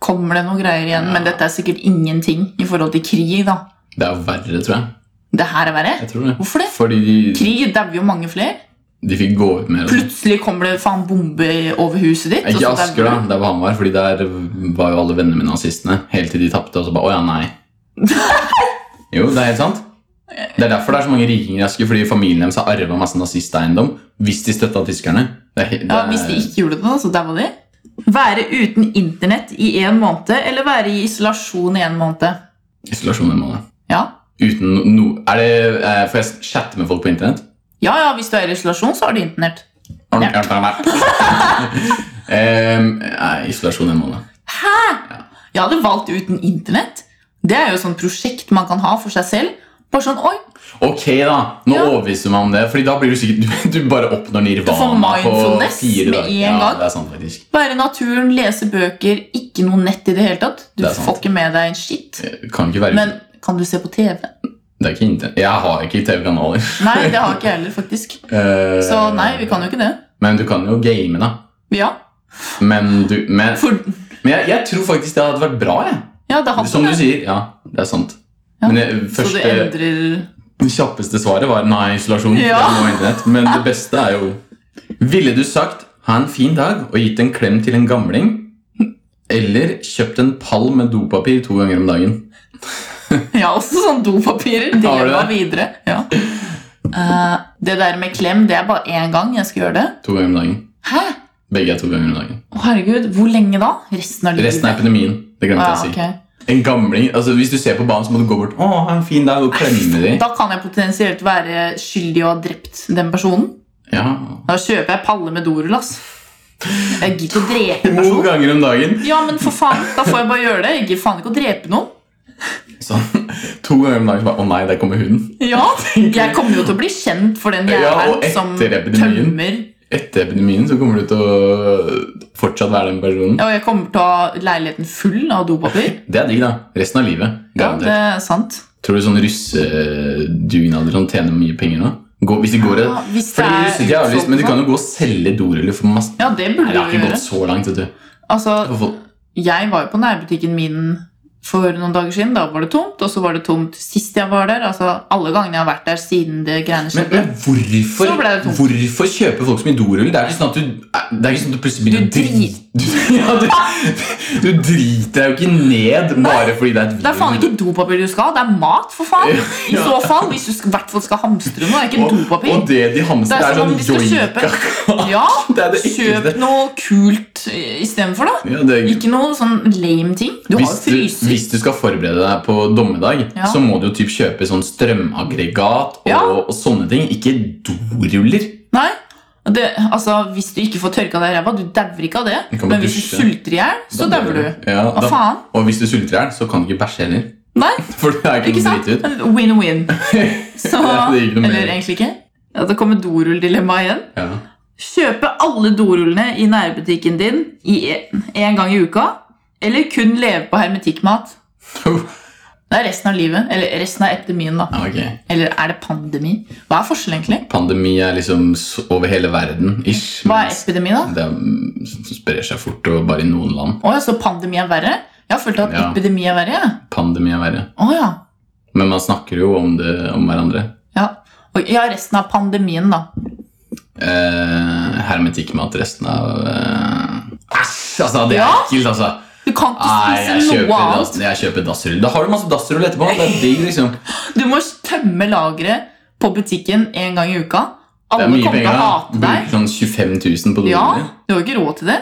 Speaker 3: Kommer det noen greier igjen? Men dette er sikkert ingenting i forhold til krig, da.
Speaker 1: Det er verre, tror jeg.
Speaker 3: Det her er verre.
Speaker 1: Jeg tror det.
Speaker 3: Hvorfor det?
Speaker 1: Fordi de,
Speaker 3: Krig dauer jo mange flere.
Speaker 1: de fikk gå ut mer. og sånn.
Speaker 3: Plutselig kommer det faen bombe over huset ditt.
Speaker 1: Ikke
Speaker 3: og så
Speaker 1: Asker, da.
Speaker 3: dauer du.
Speaker 1: Der hvor han var. Fordi der var jo alle vennene mine nazistene. Helt til de tapte. Og så bare Å ja, nei. Jo, det er helt sant. Det er derfor det er så mange rikinger i Asker. Fordi familien deres har arva masse nazisteiendom. Hvis de støtta tyskerne. Det er, he- det
Speaker 3: Ja,
Speaker 1: er,
Speaker 3: hvis de ikke gjorde det, da, så daua de. Være uten internett i én måned eller være i isolasjon i én måned?
Speaker 1: Isolasjon en måned.
Speaker 3: Ja.
Speaker 1: Uten no, no Er det eh, Får jeg chatte med folk på internett?
Speaker 3: ja, ja, hvis du er i isolasjon, så har du internett.
Speaker 1: Arne,
Speaker 3: Ja.
Speaker 1: Arne, Arne, Arne. Em, nei, isolasjon en måned.
Speaker 3: Jeg hadde valgt uten internett. Det er jo et sånt prosjekt man kan ha for seg selv. Bare sånn, oi,
Speaker 1: Ok, da. Nå
Speaker 3: Ja.
Speaker 1: overbeviser du meg om det. Fordi da blir du sikkert Du, du bare oppnår
Speaker 3: får
Speaker 1: nirvana på
Speaker 3: mindfulness
Speaker 1: fire
Speaker 3: med
Speaker 1: dager.
Speaker 3: en
Speaker 1: Ja,
Speaker 3: gang.
Speaker 1: det er sant, faktisk.
Speaker 3: Være i naturen, lese bøker, ikke noe nett i det hele tatt. Du
Speaker 1: Det er sant.
Speaker 3: får ikke med deg en shit.
Speaker 1: Kan ikke være
Speaker 3: Men kan du se på TV?
Speaker 1: Det er ikke internett. Jeg har ikke TV-kanaler.
Speaker 3: Nei, det har ikke jeg heller, faktisk.
Speaker 1: Eh,
Speaker 3: Så nei, vi kan jo ikke det.
Speaker 1: Men du kan jo game, da.
Speaker 3: Ja,
Speaker 1: Men, du, men,
Speaker 3: for,
Speaker 1: men jeg, jeg tror faktisk det hadde vært bra. Jeg.
Speaker 3: ja det hadde
Speaker 1: Som du
Speaker 3: det.
Speaker 1: sier. Ja, det er sant.
Speaker 3: Ja.
Speaker 1: Men det
Speaker 3: Så du
Speaker 1: første,
Speaker 3: endrer
Speaker 1: det kjappeste svaret var nei, isolasjon.
Speaker 3: Ja.
Speaker 1: det må internett. Men det beste er jo Ville du sagt 'ha en fin dag' og gitt en klem til en gamling? Eller kjøpt en pall med dopapir to ganger om dagen?
Speaker 3: Ja, også sånn dopapirer.
Speaker 1: Har du
Speaker 3: Dilemma
Speaker 1: det?
Speaker 3: videre. Ja. Eh, det der med klem, det er bare én gang jeg skal gjøre det.
Speaker 1: To ganger om dagen.
Speaker 3: Hæ?
Speaker 1: Begge er to ganger om dagen.
Speaker 3: Å, herregud, hvor lenge da? Resten av livet?
Speaker 1: Resten er epidemien. Det glemte jeg å
Speaker 3: ja,
Speaker 1: si.
Speaker 3: Ah, ok.
Speaker 1: En gamling, altså Hvis du ser på banen, så må du gå bort Å, ha en fin dag og klemme dem.
Speaker 3: Da kan jeg potensielt være skyldig og ha drept den personen.
Speaker 1: Ja.
Speaker 3: Da kjøper jeg palle med dorull, ass. Jeg gidder ikke å drepe en
Speaker 1: To
Speaker 3: person.
Speaker 1: ganger om dagen.
Speaker 3: Ja, men for faen, da får jeg bare gjøre det. Jeg gidder faen ikke å drepe noen.
Speaker 1: Sånn. To ganger om dagen så bare Å nei, der kommer hunden.
Speaker 3: Ja, Jeg kommer jo til å bli kjent for den
Speaker 1: Ja,
Speaker 3: jævelen
Speaker 1: og etter
Speaker 3: som
Speaker 1: epidemien.
Speaker 3: tømmer.
Speaker 1: Etter epidemien så kommer du til å fortsatt være den personen.
Speaker 3: Ja, og jeg kommer til å ha leiligheten full av dopapir.
Speaker 1: Det er digg, da. Resten av livet.
Speaker 3: Ja, det
Speaker 1: Garantert.
Speaker 3: er sant.
Speaker 1: Tror du sånn russedugnader som tjener mye penger nå? Gå, hvis de går
Speaker 3: Ja, hvis det
Speaker 1: Fordi
Speaker 3: er
Speaker 1: russer ikke har lyst, Men du
Speaker 3: utsolgt,
Speaker 1: kan jo gå og selge doruller for masse
Speaker 3: Ja, det
Speaker 1: Nei,
Speaker 3: burde
Speaker 1: det
Speaker 3: du
Speaker 1: har
Speaker 3: jo
Speaker 1: ikke
Speaker 3: gjøre.
Speaker 1: gått så langt, vet du.
Speaker 3: Altså,
Speaker 1: Hvorfor-
Speaker 3: jeg var jo på nærbutikken min for noen dager siden. Da var det tomt, og så var det tomt sist jeg var der. Altså, alle gangene jeg har vært der siden det greiene
Speaker 1: Men,
Speaker 3: skjedde.
Speaker 1: men hvorfor,
Speaker 3: Så ble det tomt.
Speaker 1: hvorfor kjøper folk så mye dorull? Det er ikke sånn at du, det er ikke sånn at du plutselig begynner å
Speaker 3: Du
Speaker 1: drite du, ja, du, du driter deg jo ikke ned bare fordi det er et
Speaker 3: Det er faen ikke dopapir du skal ha, det er mat, for faen! I
Speaker 1: Ja.
Speaker 3: så fall, hvis du sk- i hvert fall skal hamstre noe, det er ikke
Speaker 1: og, og
Speaker 3: dopapir.
Speaker 1: det de hamstrer,
Speaker 3: Det er
Speaker 1: er,
Speaker 3: som om de
Speaker 1: sånn
Speaker 3: skal kjøpe
Speaker 1: joikakake.
Speaker 3: Ja,
Speaker 1: Det er det
Speaker 3: kjøp
Speaker 1: ekleste.
Speaker 3: noe kult eh, istedenfor, da.
Speaker 1: Ja, det er-
Speaker 3: Ikke noe sånn lame ting. Du har jo
Speaker 1: hvis, du,
Speaker 3: fryser.
Speaker 1: hvis du skal forberede deg på dommedag,
Speaker 3: Ja.
Speaker 1: så må du jo typ kjøpe sånn strømaggregat og,
Speaker 3: Ja.
Speaker 1: og sånne ting. Ikke doruller.
Speaker 3: Nei. Det, altså, hvis du ikke får tørka deg i ræva, du dauer ikke av det.
Speaker 1: Du kan bare
Speaker 3: Men hvis du
Speaker 1: dusje.
Speaker 3: sulter i hjel, så
Speaker 1: Da
Speaker 3: dauer du.
Speaker 1: Ja,
Speaker 3: Hva
Speaker 1: da,
Speaker 3: faen?
Speaker 1: og hvis du sulter i hjel, så kan du ikke bæsje heller.
Speaker 3: Nei,
Speaker 1: For det er
Speaker 3: ikke
Speaker 1: ikke noe
Speaker 3: sant?
Speaker 1: dritt ut.
Speaker 3: Win-win. Så,
Speaker 1: Ja, det gikk noe mer.
Speaker 3: eller egentlig ikke. Ja, da kommer dorulldilemmaet igjen.
Speaker 1: Ja.
Speaker 3: Kjøpe alle dorullene i nærbutikken din i én gang i uka, eller kun leve på hermetikkmat. Det er resten av livet. Eller resten av epidemien, da.
Speaker 1: Ja, ok.
Speaker 3: Eller er det pandemi? Hva er forskjellen, egentlig?
Speaker 1: Pandemi er liksom s- over hele verden, ish.
Speaker 3: Hva er
Speaker 1: mens
Speaker 3: epidemi, da?
Speaker 1: Det er- sprer seg fort, og bare i noen land.
Speaker 3: Å, så pandemi er verre? Jeg har følt at
Speaker 1: Ja.
Speaker 3: epidemi er verre. jeg.
Speaker 1: Pandemi er verre.
Speaker 3: Å ja.
Speaker 1: Men man snakker jo om det om hverandre.
Speaker 3: Ja. Og- Ja, resten av pandemien, da.
Speaker 1: Eh, hermetikk med at resten av eh, Æsj! Altså, det er
Speaker 3: Ja.
Speaker 1: ekkelt, altså.
Speaker 3: Du kan
Speaker 1: Nei,
Speaker 3: ikke
Speaker 1: jeg
Speaker 3: spise noe
Speaker 1: kjøper, dass,
Speaker 3: annet.
Speaker 1: jeg kjøper dassrull. Da har du masse dassrull etterpå. Det er digg, liksom.
Speaker 3: Du må tømme lageret på butikken en gang i uka.
Speaker 1: Det
Speaker 3: Alle
Speaker 1: er mye
Speaker 3: kommer til
Speaker 1: penger.
Speaker 3: å
Speaker 1: da.
Speaker 3: hate
Speaker 1: Bruker
Speaker 3: deg.
Speaker 1: Sånn 25 000 på
Speaker 3: Ja,
Speaker 1: doruller.
Speaker 3: Du har ikke råd til det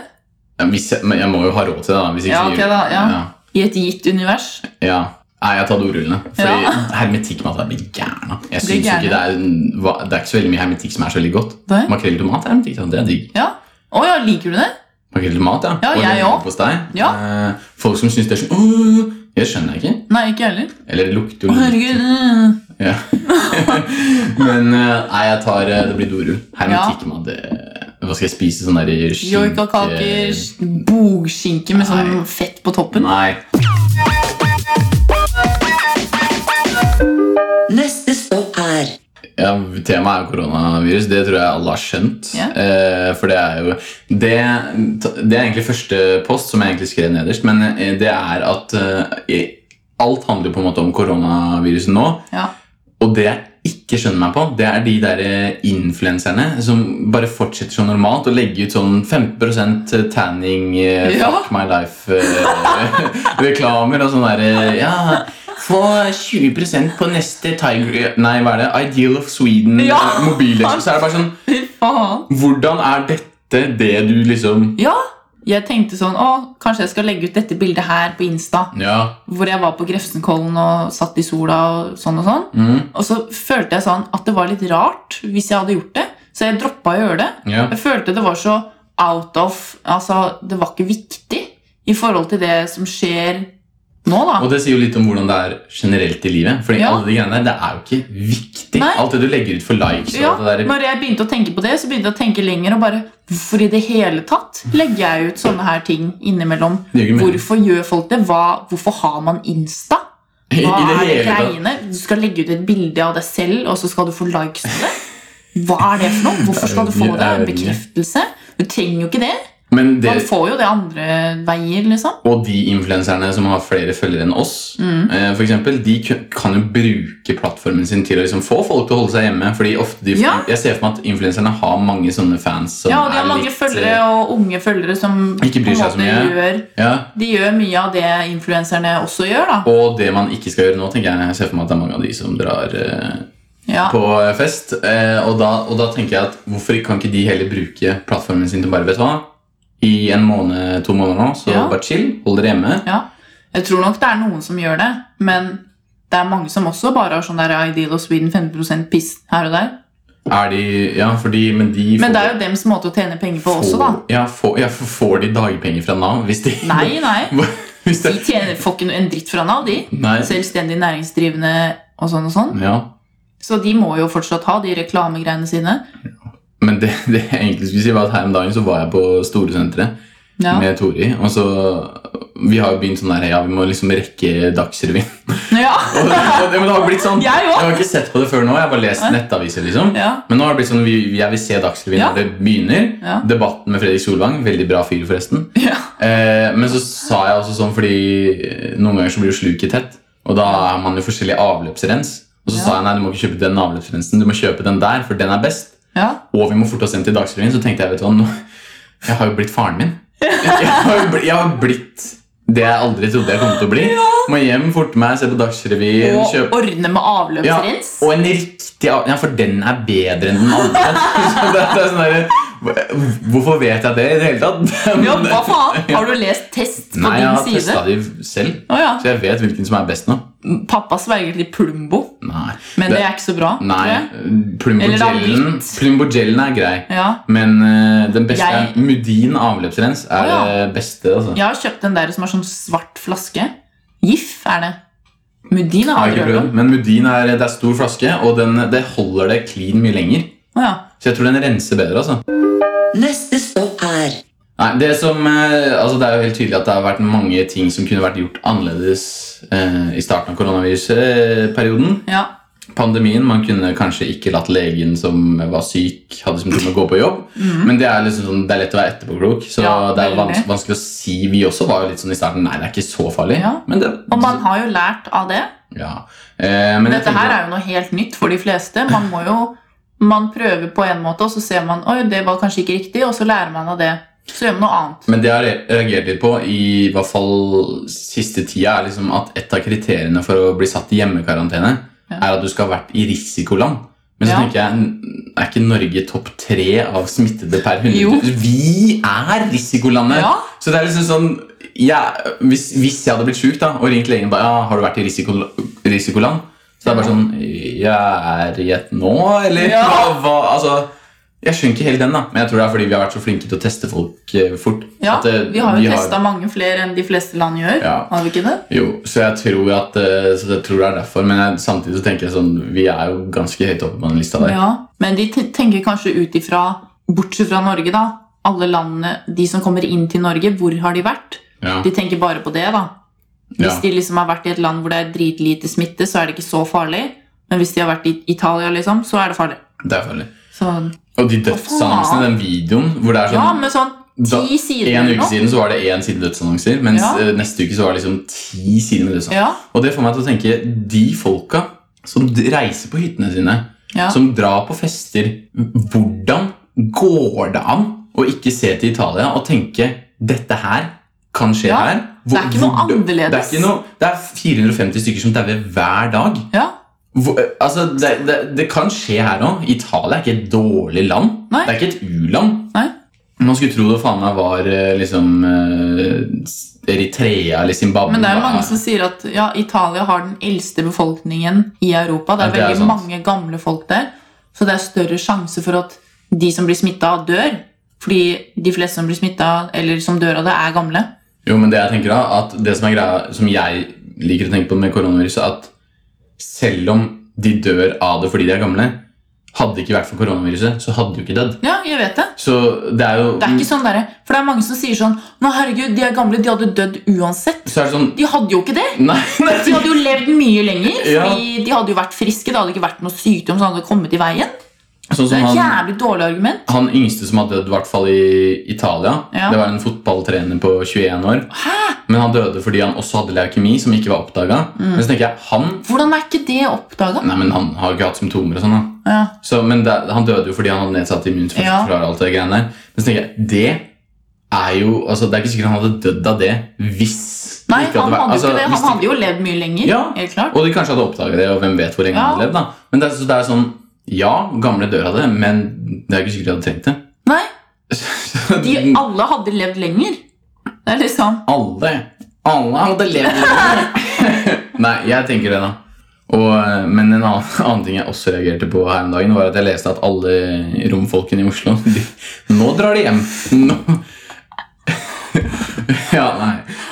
Speaker 1: Ja, hvis jeg, men jeg må jo ha råd til det, da. Hvis ikke
Speaker 3: Ja,
Speaker 1: så
Speaker 3: ok
Speaker 1: gjør-
Speaker 3: da, ja.
Speaker 1: Ja.
Speaker 3: i et gitt univers.
Speaker 1: Ja. Nei, jeg tar dorullene. Fordi
Speaker 3: Ja.
Speaker 1: hermetikkmat jeg blir gæren av. Jeg
Speaker 3: Blir
Speaker 1: synes ikke
Speaker 3: gæren.
Speaker 1: det er, hva- det er ikke så veldig mye hermetikk som er så veldig godt.
Speaker 3: Nei.
Speaker 1: Makrell i tomat er hermetikk, sant? det er digg.
Speaker 3: Ja. Å ja, liker du det?
Speaker 1: Makrell i tomat, ja.
Speaker 3: Ja,
Speaker 1: Og
Speaker 3: jeg
Speaker 1: leverpostei.
Speaker 3: Ja.
Speaker 1: Eh, folk som syns det er sånn Åh, Jeg skjønner jeg ikke.
Speaker 3: Nei, ikke jeg heller.
Speaker 1: Eller det lukter jo
Speaker 3: Å,
Speaker 1: litt.
Speaker 3: herregud. øh.
Speaker 1: Ja. Men eh, nei, jeg tar eh, Det blir dorull. Hermetikkmat. det- Hva skal jeg spise? Sånn der
Speaker 3: Joikakaker, bogskinke med sånn
Speaker 1: Nei.
Speaker 3: fett på toppen.
Speaker 1: Nei.
Speaker 2: Neste stopp er
Speaker 1: Ja, Temaet er jo koronavirus. Det tror jeg alle har skjønt.
Speaker 3: Ja.
Speaker 1: Eh, for det er jo det, det er egentlig første post som jeg egentlig skrev nederst, men eh, det er at eh, alt handler på en måte om koronaviruset nå.
Speaker 3: Ja.
Speaker 1: Og det jeg ikke skjønner meg på, det er de der eh, influenserne som bare fortsetter som normalt og legger ut sånn 15 tanning, eh,
Speaker 3: Ja.
Speaker 1: fuck my life-reklamer og sånn derre Ja, få 20 på neste Tiger eh, Nei, hva er det? Ideal of Sweden
Speaker 3: Ja.
Speaker 1: eh, mobilløsning. Så er det bare sånn
Speaker 3: Fy faen.
Speaker 1: Hvordan er dette det du liksom
Speaker 3: Ja. Jeg tenkte sånn Å, kanskje jeg skal legge ut dette bildet her på Insta.
Speaker 1: Ja.
Speaker 3: Hvor jeg var på Grefsenkollen og satt i sola og sånn og sånn.
Speaker 1: Mm,
Speaker 3: Og så følte jeg sånn at det var litt rart hvis jeg hadde gjort det. Så jeg droppa å gjøre det.
Speaker 1: ja.
Speaker 3: Jeg følte det var så out of Altså, det var ikke viktig i forhold til det som skjer nå, da.
Speaker 1: Og det sier jo litt om hvordan det er generelt i livet. Fordi
Speaker 3: Ja.
Speaker 1: alle de greiene der, det er jo ikke viktig.
Speaker 3: Nei.
Speaker 1: Alt det du legger ut for likes og
Speaker 3: Ja,
Speaker 1: alt det der
Speaker 3: når jeg begynte å tenke på det, så begynte jeg å tenke lenger og bare Hvorfor i det hele tatt legger jeg ut sånne her ting innimellom?
Speaker 1: Det gjør ikke mening.
Speaker 3: Hvorfor gjør folk det? Hva, hvorfor har man Insta?
Speaker 1: I, i det
Speaker 3: Hva er det
Speaker 1: hele tatt.
Speaker 3: greiene? Du skal legge ut et bilde av deg selv, og så skal du få likes på det? Hva er det for noe?
Speaker 1: Det er
Speaker 3: Hvorfor skal du
Speaker 1: jo-
Speaker 3: få
Speaker 1: det
Speaker 3: det?
Speaker 1: er jo
Speaker 3: En bekreftelse? Du trenger jo ikke det.
Speaker 1: Men det,
Speaker 3: Man får jo det andre veier, liksom.
Speaker 1: og de influenserne som har flere følgere enn oss,
Speaker 3: Mm.
Speaker 1: eh, for eksempel, de kun- kan jo bruke plattformen sin til å liksom få folk til å holde seg hjemme. Fordi ofte de,
Speaker 3: Ja.
Speaker 1: Jeg ser for meg at influenserne har mange sånne fans som
Speaker 3: Ja, og de har
Speaker 1: er
Speaker 3: mange
Speaker 1: litt,
Speaker 3: følgere
Speaker 1: eh,
Speaker 3: og unge følgere som
Speaker 1: Ikke bryr
Speaker 3: på en
Speaker 1: seg så
Speaker 3: måte
Speaker 1: mye.
Speaker 3: Gjør,
Speaker 1: Ja,
Speaker 3: de gjør mye av det influenserne også gjør, da.
Speaker 1: og det man ikke skal gjøre nå, tenker jeg, jeg ser for meg at det er mange av de som drar eh,
Speaker 3: Ja.
Speaker 1: på fest. Eh, og, da, og da tenker jeg at hvorfor kan ikke de heller bruke plattformen sin til bare vet du hva? I en måned, to måneder nå, så
Speaker 3: Ja.
Speaker 1: bare chill, hold dere hjemme.
Speaker 3: Jeg tror nok det er noen som gjør det, men det er mange som også bare har sånn der Ideal of Sweden 15 piss her og der.
Speaker 1: Er de, ja, fordi, men de
Speaker 3: Men
Speaker 1: får-
Speaker 3: det er jo dems måte å tjene penger på
Speaker 1: Får-
Speaker 3: også, da.
Speaker 1: Ja, får, ja, for får de dagpenger fra Nav hvis de
Speaker 3: Nei, nei.
Speaker 1: hvis
Speaker 3: De
Speaker 1: det,
Speaker 3: tjener, får ikke en dritt fra Nav, de.
Speaker 1: nei.
Speaker 3: Selvstendig næringsdrivende og sånn og sånn.
Speaker 1: Ja.
Speaker 3: Så de må jo fortsatt ha de reklamegreiene sine.
Speaker 1: Men det, det jeg egentlig skulle si, var at her om dagen så var jeg på Storesenteret
Speaker 3: Ja.
Speaker 1: med Tori. Og så Vi har jo begynt sånn der, ja, vi må liksom rekke Dagsrevyen.
Speaker 3: ja.
Speaker 1: Og det, og det, men det har blitt sånn
Speaker 3: Jeg
Speaker 1: Jeg
Speaker 3: òg!
Speaker 1: har ikke sett på det før nå. Jeg har bare lest
Speaker 3: Nei.
Speaker 1: nettaviser, liksom.
Speaker 3: Ja.
Speaker 1: Men nå har det blitt sånn, vi, jeg vil se Dagsrevyen
Speaker 3: Ja.
Speaker 1: når det begynner.
Speaker 3: Ja.
Speaker 1: Debatten med Fredrik Solvang, veldig bra fyr, forresten.
Speaker 3: Ja.
Speaker 1: Eh, men så sa jeg også sånn, fordi eh, noen ganger så blir jo sluket tett, og da har man jo forskjellig avløpsrens. Og så
Speaker 3: Ja.
Speaker 1: sa jeg nei, du må ikke kjøpe den avløpsrensen, du må kjøpe den der, for den er best.
Speaker 3: ja.
Speaker 1: Og vi må forte oss hjem til Dagsrevyen. Så tenkte jeg, vet du hva, nå, jeg har jo blitt faren min. Jeg har jo blitt, jeg har blitt det jeg aldri trodde jeg kom til å bli. Må hjem, forte meg, se på Dagsrevyen,
Speaker 3: Og
Speaker 1: kjøpe
Speaker 3: ordne med avløpsrens.
Speaker 1: og en riktig av- Ja, for den er bedre enn den andre. Så det, det er sånn der, hv- Hvorfor vet jeg det i det hele tatt?
Speaker 3: Ja, hva faen? Har du lest test på
Speaker 1: Nei, jeg har
Speaker 3: din
Speaker 1: testa
Speaker 3: side?
Speaker 1: de selv,
Speaker 3: Å ja.
Speaker 1: så jeg vet hvilken som er best nå.
Speaker 3: Pappa sverger til Plumbo,
Speaker 1: Nei,
Speaker 3: men
Speaker 1: Det-
Speaker 3: det er ikke så bra. tror
Speaker 1: nei
Speaker 3: jeg. Eller det har
Speaker 1: Plumbogellen
Speaker 3: blitt.
Speaker 1: Plumbogellen er grei,
Speaker 3: Ja.
Speaker 1: men eh, den beste
Speaker 3: Jeg-
Speaker 1: er Mudin avløpsrens. er
Speaker 3: Å, ja.
Speaker 1: det beste, altså.
Speaker 3: Jeg har kjøpt den der som har sånn svart flaske. GIF er det.
Speaker 1: Jeg
Speaker 3: Mudin har
Speaker 1: har
Speaker 3: jeg
Speaker 1: ikke
Speaker 3: aldri hørt
Speaker 1: prøvd,
Speaker 3: om.
Speaker 1: men Mudin er, det er stor flaske, og den, det holder det clean mye lenger.
Speaker 3: Å ja.
Speaker 1: Så jeg tror den renser bedre. altså
Speaker 2: Neste stopp er
Speaker 1: Nei, det, som, eh, altså det er jo helt tydelig at det har vært mange ting som kunne vært gjort annerledes eh, i starten av koronavirusperioden.
Speaker 3: ja.
Speaker 1: Pandemien, Man kunne kanskje ikke latt legen som var syk, hadde symptomer, gå på jobb.
Speaker 3: Mhm.
Speaker 1: Men det er liksom sånn, det er lett å være etterpåklok, så
Speaker 3: Ja,
Speaker 1: det er vanskelig,
Speaker 3: veldig.
Speaker 1: vanskelig å si. Vi også var jo litt sånn i starten Nei, det er ikke så farlig.
Speaker 3: Ja.
Speaker 1: Men det,
Speaker 3: Og man har jo lært av det.
Speaker 1: Ja. Eh, men jeg
Speaker 3: Dette her
Speaker 1: tenker-
Speaker 3: er jo noe helt nytt for de fleste. Man må jo man prøver på en måte, og så ser man oi, det var kanskje ikke riktig, og så lærer man av det. Så gjør man noe annet.
Speaker 1: Men det jeg har re- reagert litt på, i hvert fall siste tida, er liksom at et av kriteriene for å bli satt i hjemmekarantene,
Speaker 3: Ja.
Speaker 1: er at du skal ha vært i risikoland. Men så
Speaker 3: Ja.
Speaker 1: tenker jeg, n- er ikke Norge topp tre av smittede per
Speaker 3: Jo.
Speaker 1: 100 Vi er risikolandet!
Speaker 3: Ja,
Speaker 1: Så det er liksom sånn ja, hvis, hvis jeg hadde blitt sjuk da, og ringt legen bare, ja, har du vært i risiko, risikoland, så det er bare sånn Jeg er i et nå, eller
Speaker 3: Ja.
Speaker 1: hva, hva Altså, jeg skjønner ikke helt den, da. Men jeg tror det er fordi vi har vært så flinke til å teste folk eh, fort.
Speaker 3: ja
Speaker 1: at, eh,
Speaker 3: vi har jo
Speaker 1: vi har-
Speaker 3: testa mange flere enn de fleste land gjør.
Speaker 1: Ja.
Speaker 3: Har vi ikke det?
Speaker 1: Jo, så jeg tror at eh, så jeg tror det er derfor. Men jeg, samtidig så tenker jeg sånn Vi er jo ganske høyt oppe på den lista der.
Speaker 3: Ja. Men de te- tenker kanskje ut ifra, bortsett fra Norge, da, alle landene De som kommer inn til Norge, hvor har de vært?
Speaker 1: Ja.
Speaker 3: De tenker bare på det, da. Hvis
Speaker 1: Ja.
Speaker 3: de liksom har vært i et land hvor det er dritlite smitte, så er det ikke så farlig. Men hvis de har vært i Italia, liksom, så er det farlig.
Speaker 1: Det er farlig.
Speaker 3: Så
Speaker 1: Og de
Speaker 3: faen?
Speaker 1: dødsannonsene, den videoen hvor det er
Speaker 3: Ja,
Speaker 1: sånn
Speaker 3: med sånn
Speaker 1: Da-
Speaker 3: ti sider
Speaker 1: En
Speaker 3: eller
Speaker 1: uke
Speaker 3: noe.
Speaker 1: siden så var det én side dødsannonser, mens
Speaker 3: Ja.
Speaker 1: eh, neste uke så var det liksom ti sider med dødsannonser.
Speaker 3: Ja,
Speaker 1: Og det får meg til å tenke de folka som d- reiser på hyttene sine,
Speaker 3: ja.
Speaker 1: som drar på fester Hvordan går det an å ikke se til Italia og tenke dette her kan skje
Speaker 3: Ja,
Speaker 1: her?
Speaker 3: det er ikke noe
Speaker 1: Hvor- hvor-
Speaker 3: annerledes.
Speaker 1: Det er, ikke noe, det er 450 stykker som dauer hver dag.
Speaker 3: ja.
Speaker 1: Hvor, eh, altså, det, det, det kan skje her òg. Italia er ikke et dårlig land.
Speaker 3: Nei.
Speaker 1: Det er ikke et u-land.
Speaker 3: Nei.
Speaker 1: Man skulle tro det faen meg var eh, liksom eh, Eritrea eller Zimbabwe.
Speaker 3: Men det er jo mange som sier at ja, Italia har den eldste befolkningen i Europa.
Speaker 1: Ja,
Speaker 3: Det er
Speaker 1: det er
Speaker 3: veldig
Speaker 1: sant.
Speaker 3: mange gamle folk der, så det er større sjanse for at de som blir smitta, dør. Fordi de fleste som blir smitta, eller som dør av det, er gamle.
Speaker 1: Jo, men det jeg tenker da, at det som er greia, som jeg liker å tenke på med koronaviruset, at selv om de dør av det fordi de er gamle, hadde det ikke vært for koronaviruset, så hadde de jo ikke dødd.
Speaker 3: Ja, jeg vet det.
Speaker 1: Så det er jo
Speaker 3: Det er ikke sånn der, For det er mange som sier sånn Nå, herregud, de er gamle, de hadde dødd uansett.
Speaker 1: Så er det sånn
Speaker 3: De hadde jo ikke det.
Speaker 1: Nei, nei
Speaker 3: De hadde jo levd mye lenger,
Speaker 1: Ja.
Speaker 3: fordi de hadde jo vært friske. Det hadde ikke vært noe sykdom som hadde kommet i veien.
Speaker 1: Sånn
Speaker 3: Det
Speaker 1: som
Speaker 3: er et
Speaker 1: han,
Speaker 3: jævlig dårlig argument.
Speaker 1: han yngste som har dødd, i hvert fall i Italia,
Speaker 3: Ja.
Speaker 1: det var en fotballtrener på 21 år. Men han dødde fordi han også hadde leukemi, som ikke var oppdaga.
Speaker 3: Mm.
Speaker 1: Men så tenker jeg, han
Speaker 3: Hvordan er ikke det oppdaga?
Speaker 1: Nei, men han har jo ikke hatt symptomer og sånn, da.
Speaker 3: Ja.
Speaker 1: Så, men det, han døde jo fordi han hadde nedsatt immunforsvar og alt det greiene der. Men så tenker jeg, det er jo altså, Det er ikke sikkert han hadde dødd av det hvis det
Speaker 3: Nei,
Speaker 1: ikke
Speaker 3: han
Speaker 1: vært-
Speaker 3: hadde jo
Speaker 1: altså,
Speaker 3: ikke det.
Speaker 1: hvis
Speaker 3: Han hadde jo levd mye lenger.
Speaker 1: Ja.
Speaker 3: Helt klart.
Speaker 1: Og de kanskje hadde oppdaga det, og hvem vet hvor lenge han
Speaker 3: Ja.
Speaker 1: hadde levd. da. Men det, er- så det er sånn Ja, gamle dør av det, men det er ikke sikkert de hadde trengt det.
Speaker 3: Nei,
Speaker 1: Så
Speaker 3: de alle hadde levd lenger. Det er liksom
Speaker 1: alle Alle hadde levd lenger. Nei, jeg tenker det, da. Og, eh, men en annen, annen ting jeg også reagerte på her om dagen, var at jeg leste at alle romfolkene i Oslo de, Nå drar de hjem! Nå. Ja,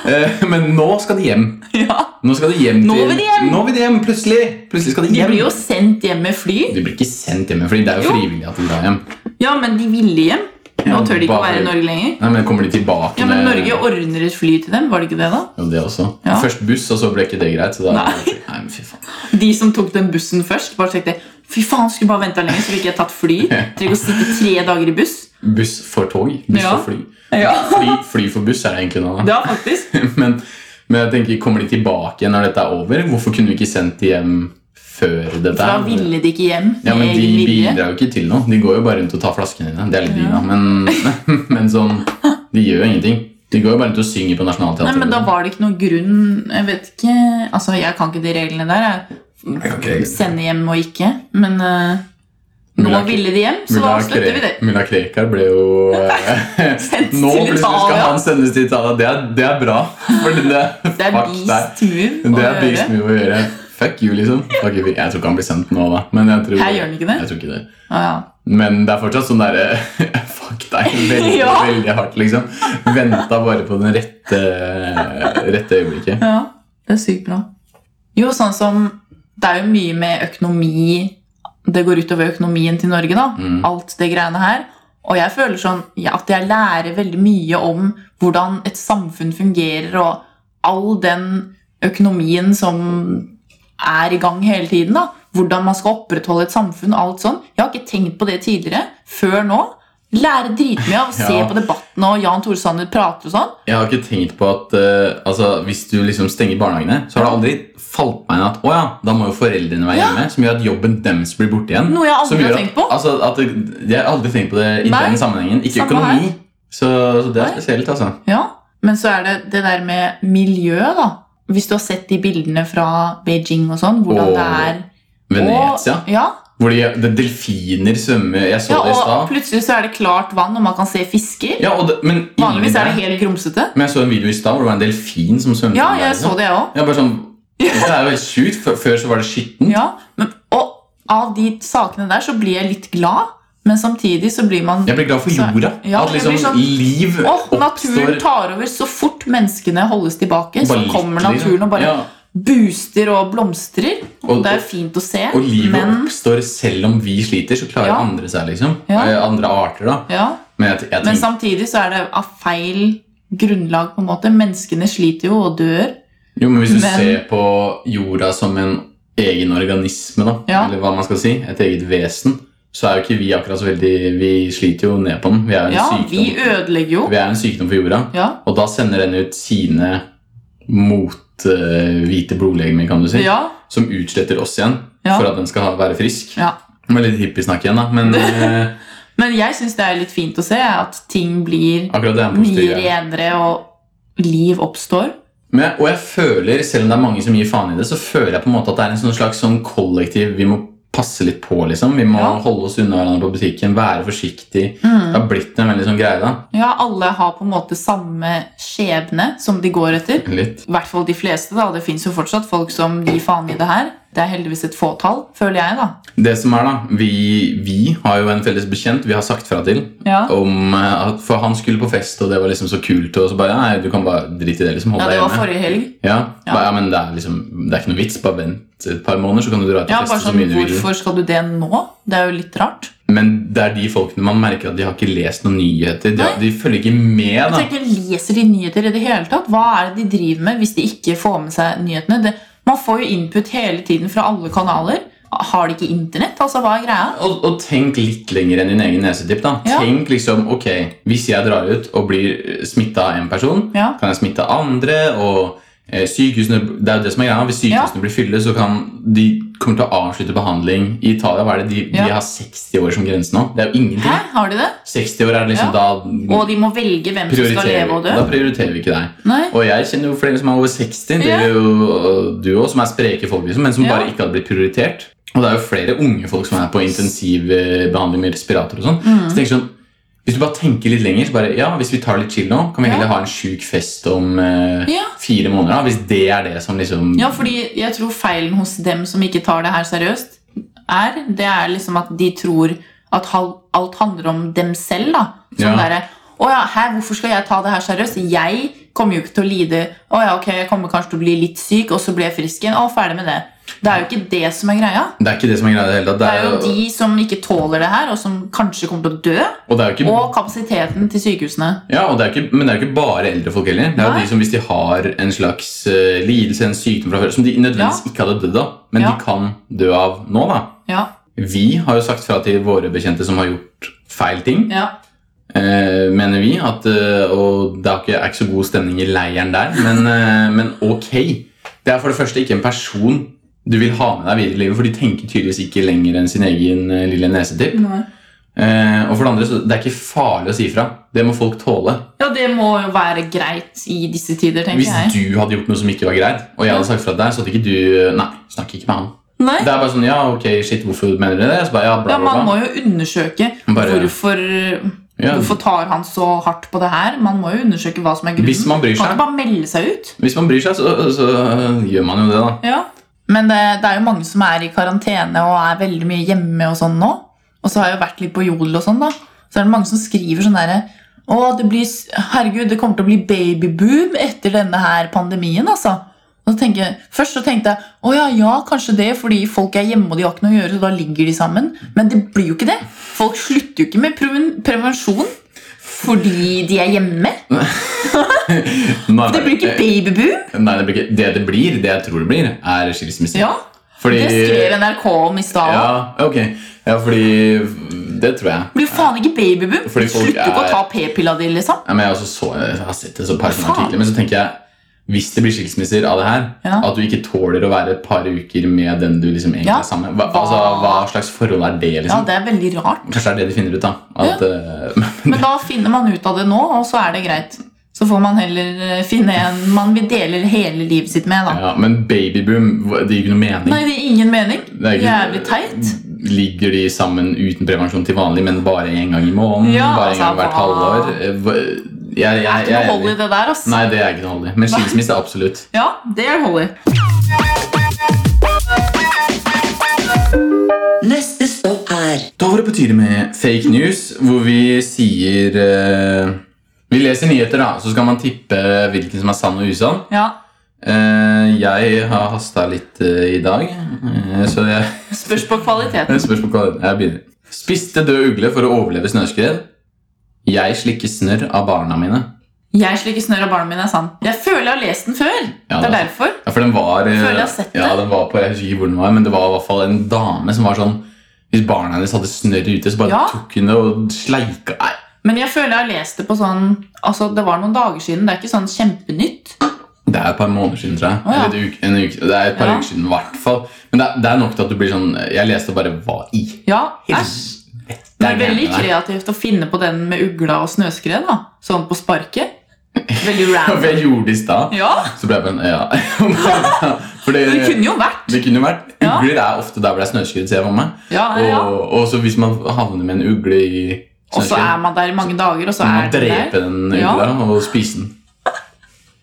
Speaker 1: nei. Eh, Men nå skal de hjem.
Speaker 3: Ja.
Speaker 1: Nå skal de hjem til
Speaker 3: Nå vil de hjem!
Speaker 1: Nå vil de hjem, Plutselig! Plutselig skal de
Speaker 3: De
Speaker 1: hjem.
Speaker 3: blir jo sendt hjem med fly.
Speaker 1: De blir ikke sendt hjem, Fordi det er jo
Speaker 3: Jo.
Speaker 1: frivillig at de drar hjem.
Speaker 3: Ja, men de ville hjem. Nå
Speaker 1: Ja,
Speaker 3: tør de ikke å
Speaker 1: bare-
Speaker 3: være i Norge lenger.
Speaker 1: Nei, men Kommer de tilbake
Speaker 3: Ja, men
Speaker 1: med-
Speaker 3: Norge ordner et fly til dem, var det ikke det, da?
Speaker 1: Jo, det også.
Speaker 3: Ja.
Speaker 1: Først buss, og så ble ikke det greit. Så da,
Speaker 3: Nei.
Speaker 1: nei men fy faen.
Speaker 3: De som tok den bussen først, bare tenkte Fy faen, skulle bare venta lenger, så fikk jeg tatt fly. Trenger ikke å sitte tre dager i buss.
Speaker 1: Buss for tog, buss
Speaker 3: Ja.
Speaker 1: for fly.
Speaker 3: Ja.
Speaker 1: fly. Fly for buss er det egentlig nå. da.
Speaker 3: Ja, faktisk.
Speaker 1: Men, men jeg tenker, kommer de tilbake igjen når dette er over? Hvorfor kunne vi ikke sendt de hjem før dette?
Speaker 3: For da
Speaker 1: her?
Speaker 3: ville de ikke hjem.
Speaker 1: ja, men
Speaker 3: med
Speaker 1: De
Speaker 3: egen vilje.
Speaker 1: bidrar jo ikke til noe. De går jo bare rundt og tar flaskene dine. Det er litt dyrt, da, men, men sånn, de gjør jo ingenting. De går jo bare rundt og synger på
Speaker 3: Nei, men da
Speaker 1: Nationaltheatret.
Speaker 3: var det ikke noen grunn Jeg vet ikke Altså, jeg kan ikke de reglene der. Jeg. Sende hjem og ikke. Men eh, nå
Speaker 1: Mulla-
Speaker 3: ville de hjem, så da slutter vi det.
Speaker 1: Mulla Krekar ble jo eh,
Speaker 3: Sendt
Speaker 1: Nå
Speaker 3: til
Speaker 1: plutselig skal
Speaker 3: Italia.
Speaker 1: han sendes til Italia. Det er, det er bra. Fordi det,
Speaker 3: Det er
Speaker 1: fuck deg.
Speaker 3: beast move å
Speaker 1: Det er
Speaker 3: gjøre.
Speaker 1: beast move å gjøre. Fuck you, liksom. Fuck you. Jeg tror ikke han blir sendt nå, da. Men jeg tror,
Speaker 3: Her gjør han ikke det?
Speaker 1: Jeg tror ikke det.
Speaker 3: Ja, ja.
Speaker 1: Men det er fortsatt sånn derre Fuck deg. Veldig,
Speaker 3: Ja.
Speaker 1: veldig hardt, liksom. Venta bare på den rette, rette øyeblikket.
Speaker 3: Ja, det er sykt bra. Jo, sånn som Det er jo mye med økonomi Det går utover økonomien til Norge, da.
Speaker 1: Mm.
Speaker 3: Alt det greiene her. Og jeg føler sånn ja, at jeg lærer veldig mye om hvordan et samfunn fungerer, og all den økonomien som er i gang hele tiden. da. Hvordan man skal opprettholde et samfunn. alt sånn. Jeg har ikke tenkt på det tidligere, før nå. Lære dritmye av å se
Speaker 1: Ja.
Speaker 3: på debattene og Jan Tore Sanner prater og sånn.
Speaker 1: Jeg har ikke tenkt på at eh, altså, hvis du liksom stenger barnehagene, så har det aldri falt meg inn at å ja, da må jo foreldrene være hjemme, som gjør at jobben deres blir borte igjen.
Speaker 3: Noe jeg aldri
Speaker 1: Som
Speaker 3: har
Speaker 1: gjør
Speaker 3: tenkt på.
Speaker 1: Altså, at det, jeg har aldri tenkt på det i
Speaker 3: Nei,
Speaker 1: den sammenhengen. Ikke
Speaker 3: samme
Speaker 1: økonomi. Så, så det er
Speaker 3: Nei.
Speaker 1: spesielt, altså.
Speaker 3: Ja, Men så er det det der med miljø, da. Hvis du har sett de bildene fra Beijing og sånn, hvordan
Speaker 1: Og
Speaker 3: det er
Speaker 1: Venezia,
Speaker 3: Og, ja,
Speaker 1: hvor de, det delfiner svømmer Jeg så
Speaker 3: ja,
Speaker 1: det i
Speaker 3: og
Speaker 1: stad.
Speaker 3: plutselig så er det klart vann, og man kan se fisker.
Speaker 1: Ja, og det- men, inni
Speaker 3: Vanligvis er det
Speaker 1: der-
Speaker 3: helt grumsete.
Speaker 1: men jeg så en video i stad hvor det var en delfin som svømte.
Speaker 3: Ja,
Speaker 1: under der,
Speaker 3: jeg så
Speaker 1: liksom.
Speaker 3: det, jeg òg.
Speaker 1: Jeg bare sånn, det er jo helt sjukt. Før- Før så var det skittent.
Speaker 3: Ja, men- og av de sakene der så blir jeg litt glad, men samtidig så blir man
Speaker 1: Jeg blir glad for
Speaker 3: Så-
Speaker 1: jorda.
Speaker 3: Ja,
Speaker 1: at
Speaker 3: jeg
Speaker 1: liksom
Speaker 3: blir sånn-
Speaker 1: liv
Speaker 3: Og
Speaker 1: oppstår
Speaker 3: naturen tar over så fort menneskene holdes tilbake. Så
Speaker 1: bare litt
Speaker 3: kommer
Speaker 1: liv. liksom.
Speaker 3: naturen og bare
Speaker 1: ja,
Speaker 3: booster og blomstrer.
Speaker 1: Og-
Speaker 3: det er fint å se,
Speaker 1: Og livet
Speaker 3: men
Speaker 1: oppstår selv om vi sliter, så klarer
Speaker 3: Ja.
Speaker 1: andre seg, liksom.
Speaker 3: Ja.
Speaker 1: Eh, Andre arter, da.
Speaker 3: ja,
Speaker 1: Men jeg, jeg
Speaker 3: Men
Speaker 1: tenker
Speaker 3: samtidig så er det av feil grunnlag, på en måte. Menneskene sliter jo og dør.
Speaker 1: Jo, men hvis du
Speaker 3: men-
Speaker 1: ser på jorda som en egen organisme, da,
Speaker 3: Ja.
Speaker 1: eller hva man skal si, et eget vesen, så er jo ikke vi akkurat så veldig Vi sliter jo ned på den. Vi er jo en
Speaker 3: Ja, vi
Speaker 1: sykdom.
Speaker 3: ødelegger jo.
Speaker 1: Vi er en sykdom for jorda.
Speaker 3: Ja,
Speaker 1: Og da sender den ut sine mot-hvite blodlegemer, kan du si.
Speaker 3: ja,
Speaker 1: som utsletter oss igjen
Speaker 3: Ja.
Speaker 1: for at den skal ha- være frisk.
Speaker 3: ja.
Speaker 1: Det var litt hippiesnakk igjen, da, men eh,
Speaker 3: Men jeg syns det er litt fint å se at ting blir
Speaker 1: akkurat det er en positiv
Speaker 3: mye
Speaker 1: greie.
Speaker 3: renere, og liv oppstår.
Speaker 1: Men- Og jeg føler, selv om det er mange som gir faen i det, så føler jeg på en måte at det er en sånn slags sånn kollektiv vi må passe litt på, liksom. Vi må
Speaker 3: Ja.
Speaker 1: holde oss unna hverandre på butikken, være forsiktig. Det
Speaker 3: Mm.
Speaker 1: har blitt en veldig sånn greie, da.
Speaker 3: Ja, alle har på en måte samme skjebne som de går etter.
Speaker 1: Litt.
Speaker 3: i hvert fall de fleste, da. Det fins jo fortsatt folk som gir faen i det her. Det er heldigvis et fåtall, føler jeg, da.
Speaker 1: Det som er, da, vi, vi har jo en felles bekjent vi har sagt fra til.
Speaker 3: Ja,
Speaker 1: Om, eh, at- for han skulle på fest, og det var liksom så kult, og så bare Nei, du kan bare drite i det, liksom. Hold
Speaker 3: ja
Speaker 1: deg
Speaker 3: det var
Speaker 1: hjemme.
Speaker 3: forrige helg.
Speaker 1: Ja,
Speaker 3: Ja.
Speaker 1: ba- ja men det er, liksom, det er ikke noe vits. Bare vent et par måneder, så kan du dra til
Speaker 3: Ja,
Speaker 1: feste så
Speaker 3: bare sånn,
Speaker 1: mye du vil.
Speaker 3: Hvorfor skal du det nå? Det er jo litt rart.
Speaker 1: Men det er de folkene man merker at de har ikke lest noen nyheter. De,
Speaker 3: Nei.
Speaker 1: de følger ikke med,
Speaker 3: Jeg
Speaker 1: da.
Speaker 3: tenker, Leser de nyheter i det hele tatt? Hva er det de driver med hvis de ikke får med seg nyhetene? Det, man får jo input hele tiden fra alle kanaler. Har de ikke internett? Altså, hva er greia?
Speaker 1: Og, og tenk litt lenger enn din egen nesetipp. da
Speaker 3: Ja.
Speaker 1: Tenk liksom, ok, Hvis jeg drar ut og blir smitta av én person,
Speaker 3: Ja.
Speaker 1: kan jeg smitte andre? Og eh, sykehusene, det er jo det som er greia Hvis
Speaker 3: Ja.
Speaker 1: sykehusene blir fylle, så kan de kommer til å avslutte behandling i Italia. Hva er det? De,
Speaker 3: Ja.
Speaker 1: de har 60 år som grense nå. Det er jo
Speaker 3: Hæ,
Speaker 1: ingenting.
Speaker 3: har de det?
Speaker 1: 60 år er det liksom da
Speaker 3: Og de må velge hvem som skal
Speaker 1: prioriterer,
Speaker 3: leve og dø?
Speaker 1: Da prioriterer vi ikke deg.
Speaker 3: Nei.
Speaker 1: Og jeg kjenner jo flere som er over 60, det
Speaker 3: Ja.
Speaker 1: er jo du også, som er spreke folk, liksom, men som
Speaker 3: Ja.
Speaker 1: bare ikke hadde blitt prioritert. Og det er jo flere unge folk som er på intensivbehandling med respirator og sånn.
Speaker 3: Mm.
Speaker 1: Så tenker jeg sånn, hvis du bare tenker litt lenger, så bare, ja, hvis vi tar litt chill nå, kan vi
Speaker 3: Ja.
Speaker 1: heller ha en syk fest om eh,
Speaker 3: Ja.
Speaker 1: fire måneder, da, hvis det er det som liksom...
Speaker 3: Ja, fordi jeg tror feilen hos dem som ikke tar det her seriøst, er, det er liksom at de tror at hal- alt handler om dem selv, da.
Speaker 1: Ja.
Speaker 3: Sånn derre Å ja, hæ, hvorfor skal jeg ta det her seriøst? Jeg kommer jo ikke til å lide. Å ja, ok, jeg kommer kanskje til å bli litt syk, og så blir jeg frisk igjen. Å, ferdig med det. Det er jo ikke det som er greia.
Speaker 1: Det er ikke det som er greia i det hele tatt.
Speaker 3: Det
Speaker 1: Det
Speaker 3: er jo
Speaker 1: er jo,
Speaker 3: de som ikke tåler det her, og som kanskje kommer til å dø.
Speaker 1: og det er jo ikke
Speaker 3: Og kapasiteten til sykehusene.
Speaker 1: Ja, og det er ikke, Men det er jo ikke bare eldre folk heller. Det er
Speaker 3: Nei.
Speaker 1: jo de som Hvis de har en slags eh, lidelse, en sykdom fra før, som de nødvendigvis ikke hadde dødd av, men
Speaker 3: Ja.
Speaker 1: de kan dø av nå, da.
Speaker 3: Ja.
Speaker 1: Vi har jo sagt fra til våre bekjente som har gjort feil ting,
Speaker 3: ja.
Speaker 1: eh, mener vi. At, eh, og det er ikke, er ikke så god stemning i leiren der, men, eh, men ok. Det er for det første ikke en person du vil ha med deg videre i livet, for de tenker tydeligvis ikke lenger enn sin egen eh, lille nesetipp. Eh, og for det andre, så det er ikke farlig å si fra. Det må folk tåle.
Speaker 3: Ja, det må jo være greit i disse tider, tenker
Speaker 1: Hvis
Speaker 3: jeg.
Speaker 1: du hadde gjort noe som ikke var greit, og jeg hadde sagt fra deg, så hadde ikke du eh, Nei, snakk ikke med han.
Speaker 3: Nei.
Speaker 1: Det er bare sånn Ja, ok, shit, hvorfor mener du det? Så bare, ja, bla, bla,
Speaker 3: Ja, Man
Speaker 1: bla.
Speaker 3: må jo undersøke
Speaker 1: Bare-
Speaker 3: hvorfor,
Speaker 1: Ja.
Speaker 3: hvorfor tar han så hardt på det her. Man må jo undersøke hva som er grunnen.
Speaker 1: Hvis man bryr
Speaker 3: Kan
Speaker 1: seg.
Speaker 3: ikke bare melde seg ut.
Speaker 1: Hvis man bryr seg, så, så gjør man jo det, da.
Speaker 3: Ja. Men det, det er jo mange som er i karantene og er veldig mye hjemme og sånn nå. Og så har jeg jo vært litt på Jodel og sånn, da. Så er det mange som skriver sånn derre Å, det blir s- Herregud, det kommer til å bli babyboom etter denne her pandemien, altså. Og så tenker jeg, først så tenkte jeg å ja, ja, kanskje det, fordi folk er hjemme og de har ikke noe å gjøre, så da ligger de sammen. Men det blir jo ikke det. Folk slutter jo ikke med preven- prevensjon fordi de er hjemme.
Speaker 1: Nå er
Speaker 3: Det blir ikke babyboom.
Speaker 1: eh, Nei, det blir ikke Det det blir, det jeg tror det blir, er skilsmisse.
Speaker 3: Ja.
Speaker 1: Fordi
Speaker 3: Det skrev NRK om i stad.
Speaker 1: Ja, ok. Ja, fordi Det tror jeg.
Speaker 3: Blir faen ikke babyboom.
Speaker 1: Fordi folk
Speaker 3: Slutter ikke
Speaker 1: er-
Speaker 3: å ta p-pilla di, liksom.
Speaker 1: Ja, men jeg, også så, jeg har sett det så par
Speaker 3: Faen.
Speaker 1: artikler, men så tenker jeg hvis det blir skilsmisser av det her,
Speaker 3: Ja.
Speaker 1: at du ikke tåler å være et par uker med den du liksom egentlig
Speaker 3: Ja.
Speaker 1: er sammen med hva, altså, hva slags forhold er det?
Speaker 3: Ja,
Speaker 1: liksom?
Speaker 3: det er veldig rart.
Speaker 1: Kanskje det er det de finner ut, da. At, eh,
Speaker 3: Men da finner man ut av det nå, og så er det greit. Så får man heller eh, finne en man vil dele hele livet sitt med, da.
Speaker 1: ja, men babyboom, hva- det gir ikke noe mening.
Speaker 3: Nei, det gir ingen mening.
Speaker 1: Det er ikke-
Speaker 3: Jævlig teit.
Speaker 1: Ligger de sammen uten prevensjon til vanlig, men bare én gang i måneden?
Speaker 3: Ja,
Speaker 1: bare en
Speaker 3: altså,
Speaker 1: gang hvert
Speaker 3: hva-
Speaker 1: halvår? Eh, hva- Jeg, jeg, jeg,
Speaker 3: Ikke
Speaker 1: er
Speaker 3: noe hold i
Speaker 1: enig.
Speaker 3: det der, ass.
Speaker 1: Nei, det er ikke noe hold i. Men skilsmisse, absolutt.
Speaker 3: Ja, det er hold i.
Speaker 2: Neste stopp er
Speaker 1: Da var det på tide med fake news, hvor vi sier eh, Vi leser nyheter, da, så skal man tippe hvilken som er sann og usann.
Speaker 3: Ja.
Speaker 1: Eh, jeg har hasta litt eh, i dag, eh, så jeg,
Speaker 3: Spørs på kvaliteten.
Speaker 1: jeg spørs på hva jeg begynner. Spiste død ugle for å overleve snøskred. Jeg slikker snørr av barna mine.
Speaker 3: Jeg slikker snørr av barna mine er sant. Jeg føler jeg har lest den før.
Speaker 1: Ja,
Speaker 3: det
Speaker 1: det
Speaker 3: er
Speaker 1: er
Speaker 3: derfor.
Speaker 1: Ja, for den var, eh,
Speaker 3: Føler jeg har sett det.
Speaker 1: ja, den var på, Jeg husker ikke hvor den var, men det var i hvert fall en dame som var sånn Hvis barna hennes hadde snørr ute, så bare
Speaker 3: Ja.
Speaker 1: tok hun det og sleika Nei,
Speaker 3: Men jeg føler jeg har lest det på sånn Altså, det var noen dager siden. Det er ikke sånn kjempenytt.
Speaker 1: Det er et par måneder siden, tror jeg.
Speaker 3: Å, ja.
Speaker 1: Eller et uke, en uke, det er et par
Speaker 3: Ja.
Speaker 1: uker siden, i hvert fall. Men det, er- det er nok til at du blir sånn Jeg leste bare Hva i
Speaker 3: Ja, æsj.
Speaker 1: helvete?
Speaker 3: Det er veldig
Speaker 1: greiene der?
Speaker 3: kreativt å finne på den med ugla og snøskred, da. Sånn på sparket. Veldig random.
Speaker 1: For jeg gjorde det i stad,
Speaker 3: Ja,
Speaker 1: så ble jeg bare Ja. For det,
Speaker 3: det kunne jo vært.
Speaker 1: det kunne jo vært
Speaker 3: Ja.
Speaker 1: Ugler er ofte der hvor det er snøskred, ser jeg for meg.
Speaker 3: Ja, ja, ja.
Speaker 1: Og, og så hvis man havner med en ugle i
Speaker 3: Og så er man der i mange dager, og så
Speaker 1: må
Speaker 3: er
Speaker 1: man
Speaker 3: den der.
Speaker 1: drepe den
Speaker 3: Ja.
Speaker 1: ugla og spise den.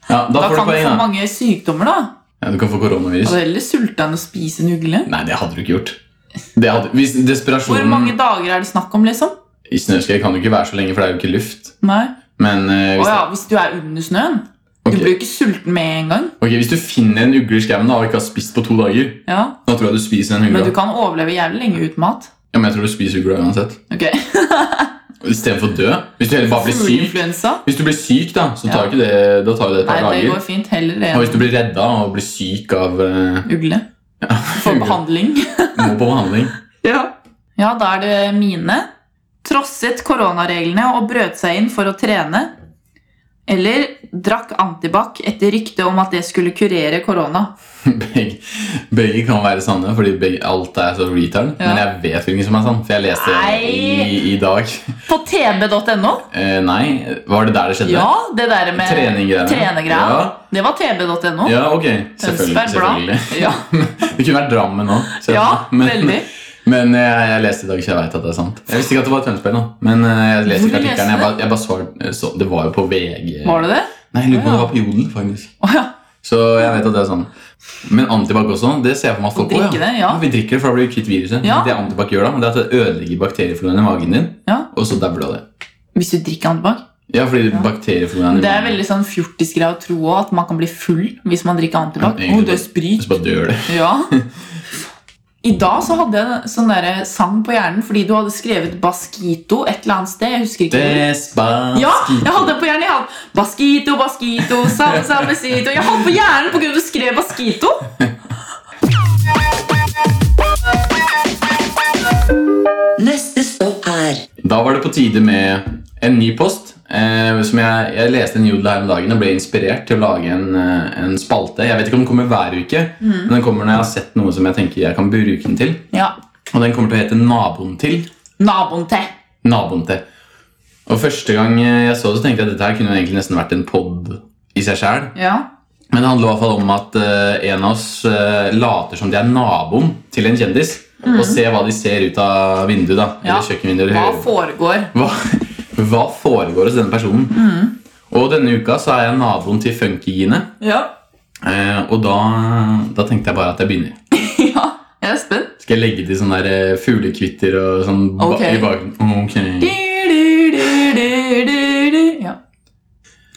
Speaker 1: Ja, da,
Speaker 3: Da
Speaker 1: får du
Speaker 3: kan du
Speaker 1: poeng,
Speaker 3: få
Speaker 1: da.
Speaker 3: mange Altså- sykdommer, da.
Speaker 1: Ja, du kan få koronavirus.
Speaker 3: Og heller sulte enn å spise en ugle.
Speaker 1: Nei, det hadde du ikke gjort. Det hadde, hvis
Speaker 3: Hvor
Speaker 1: desperasjonen
Speaker 3: mange dager er det snakk om, liksom?
Speaker 1: I snøskred kan du ikke være så lenge, for det er jo ikke luft.
Speaker 3: Nei.
Speaker 1: Men eh,
Speaker 3: Å
Speaker 1: hvis,
Speaker 3: ja, hvis du er under snøen. Du
Speaker 1: Ok.
Speaker 3: blir jo ikke sulten med en gang.
Speaker 1: ok, hvis du finner en ugle i skauen da, og ikke har spist på to dager,
Speaker 3: Ja.
Speaker 1: da tror jeg du spiser den
Speaker 3: Men
Speaker 1: ugla.
Speaker 3: du kan overleve jævlig lenge uten mat.
Speaker 1: Ja, men jeg tror du spiser ugla uansett.
Speaker 3: Ok,
Speaker 1: Istedenfor å dø. Hvis du heller bare blir syk,
Speaker 3: Fugleinfluensa?
Speaker 1: hvis du blir syk da, så tar
Speaker 3: Ja.
Speaker 1: jo ikke det, da tar jo det et
Speaker 3: Nei,
Speaker 1: par
Speaker 3: det
Speaker 1: dager.
Speaker 3: går fint. Heller det
Speaker 1: Og hvis du
Speaker 3: enn
Speaker 1: blir redda og blir syk av eh,
Speaker 3: ugle. Få
Speaker 1: ugle.
Speaker 3: behandling.
Speaker 1: må på behandling
Speaker 3: Ja. da er det mine. Trosset koronareglene og brøt seg inn for å trene. Eller drakk antibac etter rykte om at det skulle kurere korona.
Speaker 1: begge, begge kan være sanne, fordi begge, alt er så retard.
Speaker 3: Ja.
Speaker 1: Men jeg vet hvilken som er sann, for jeg leste det i, i dag.
Speaker 3: På tb.no.
Speaker 1: Eh, nei, var det der det skjedde?
Speaker 3: Ja, det der med
Speaker 1: Trenegreiene.
Speaker 3: trenegreiene.
Speaker 1: Ja.
Speaker 3: Det var tb.no.
Speaker 1: Ja, ok. Selvfølgelig.
Speaker 3: Tønsberg Blad.
Speaker 1: selvfølgelig.
Speaker 3: Ja.
Speaker 1: det kunne vært Drammen òg.
Speaker 3: ja, veldig.
Speaker 1: Men eh, jeg, jeg leste i dag, så jeg veit at det er sant. Jeg visste ikke at det var Tønsberg. nå Men eh, jeg leste ikke
Speaker 3: Hvor leste
Speaker 1: artikkelen. Jeg
Speaker 3: du?
Speaker 1: bare, jeg bare så, så, det var jo på VG.
Speaker 3: Var det det?
Speaker 1: Nei, jeg lurer på om
Speaker 3: Ja.
Speaker 1: det var på Jodel, faktisk.
Speaker 3: Å ja.
Speaker 1: Så jeg vet at det er sånn. Men antibac også. Det ser jeg for meg at folk Å,
Speaker 3: Drikke det, ja.
Speaker 1: Vi drikker det, for da blir vi kvitt viruset.
Speaker 3: Ja.
Speaker 1: Det antibac gjør da, det er at det ødelegger bakteriefloraen i magen din,
Speaker 3: Ja.
Speaker 1: og så dauer du av det.
Speaker 3: Hvis du drikker antibac.
Speaker 1: Ja, fordi
Speaker 3: Ja.
Speaker 1: bakteriefloraen i
Speaker 3: Det er
Speaker 1: magen-
Speaker 3: veldig sånn fjortisgreie å tro også, at man kan bli full hvis man drikker antibac.
Speaker 1: Ja,
Speaker 3: Ja,
Speaker 1: egentlig.
Speaker 3: det er sprit.
Speaker 1: Så bare dør det.
Speaker 3: Ja. I dag så hadde jeg sånn der sang på hjernen fordi du hadde skrevet Baskito et eller annet sted. Jeg husker ikke.
Speaker 1: Despacito.
Speaker 3: Ja, jeg hadde den på hjernen. Jeg hadde Baskito, Baskito, Same, Same, Sito. Jeg hadde den på hjernen på grunn av at du skrev Baskito.
Speaker 2: Neste stopp er
Speaker 1: Da var det på tide med en ny post. Eh, som jeg, jeg leste en jodel her om dagen og ble inspirert til å lage en, eh, en spalte. Jeg vet ikke om den kommer hver uke,
Speaker 3: Mm.
Speaker 1: men den kommer når jeg har sett noe som jeg tenker jeg kan bruke den til.
Speaker 3: Ja.
Speaker 1: Og den kommer til å hete Naboen til.
Speaker 3: Naboen til.
Speaker 1: Naboen til. Og første gang eh, jeg så det, så tenkte jeg at dette her kunne jo egentlig nesten vært en pod i seg sjæl.
Speaker 3: Ja.
Speaker 1: Men det handler i hvert fall om at eh, en av oss eh, later som de er naboen til en kjendis. Og ser hva de ser ut av vinduet. da
Speaker 3: Mhm. Ja.
Speaker 1: Eller kjøkkenvinduet eller
Speaker 3: Hva
Speaker 1: hører-
Speaker 3: foregår?
Speaker 1: hva, hva foregår hos denne personen?
Speaker 3: Mhm.
Speaker 1: Og denne uka så er jeg naboen til Funky-Gine.
Speaker 3: Ja.
Speaker 1: Eh, og da, da tenkte jeg bare at jeg begynner.
Speaker 3: ja. Jeg er spent.
Speaker 1: Skal jeg legge til sånne der, eh, fuglekvitter og sånn ba
Speaker 3: Ok.
Speaker 1: i bakgrunnen?
Speaker 3: Du,
Speaker 1: Ok.
Speaker 3: du, du, du, du, du. Ja.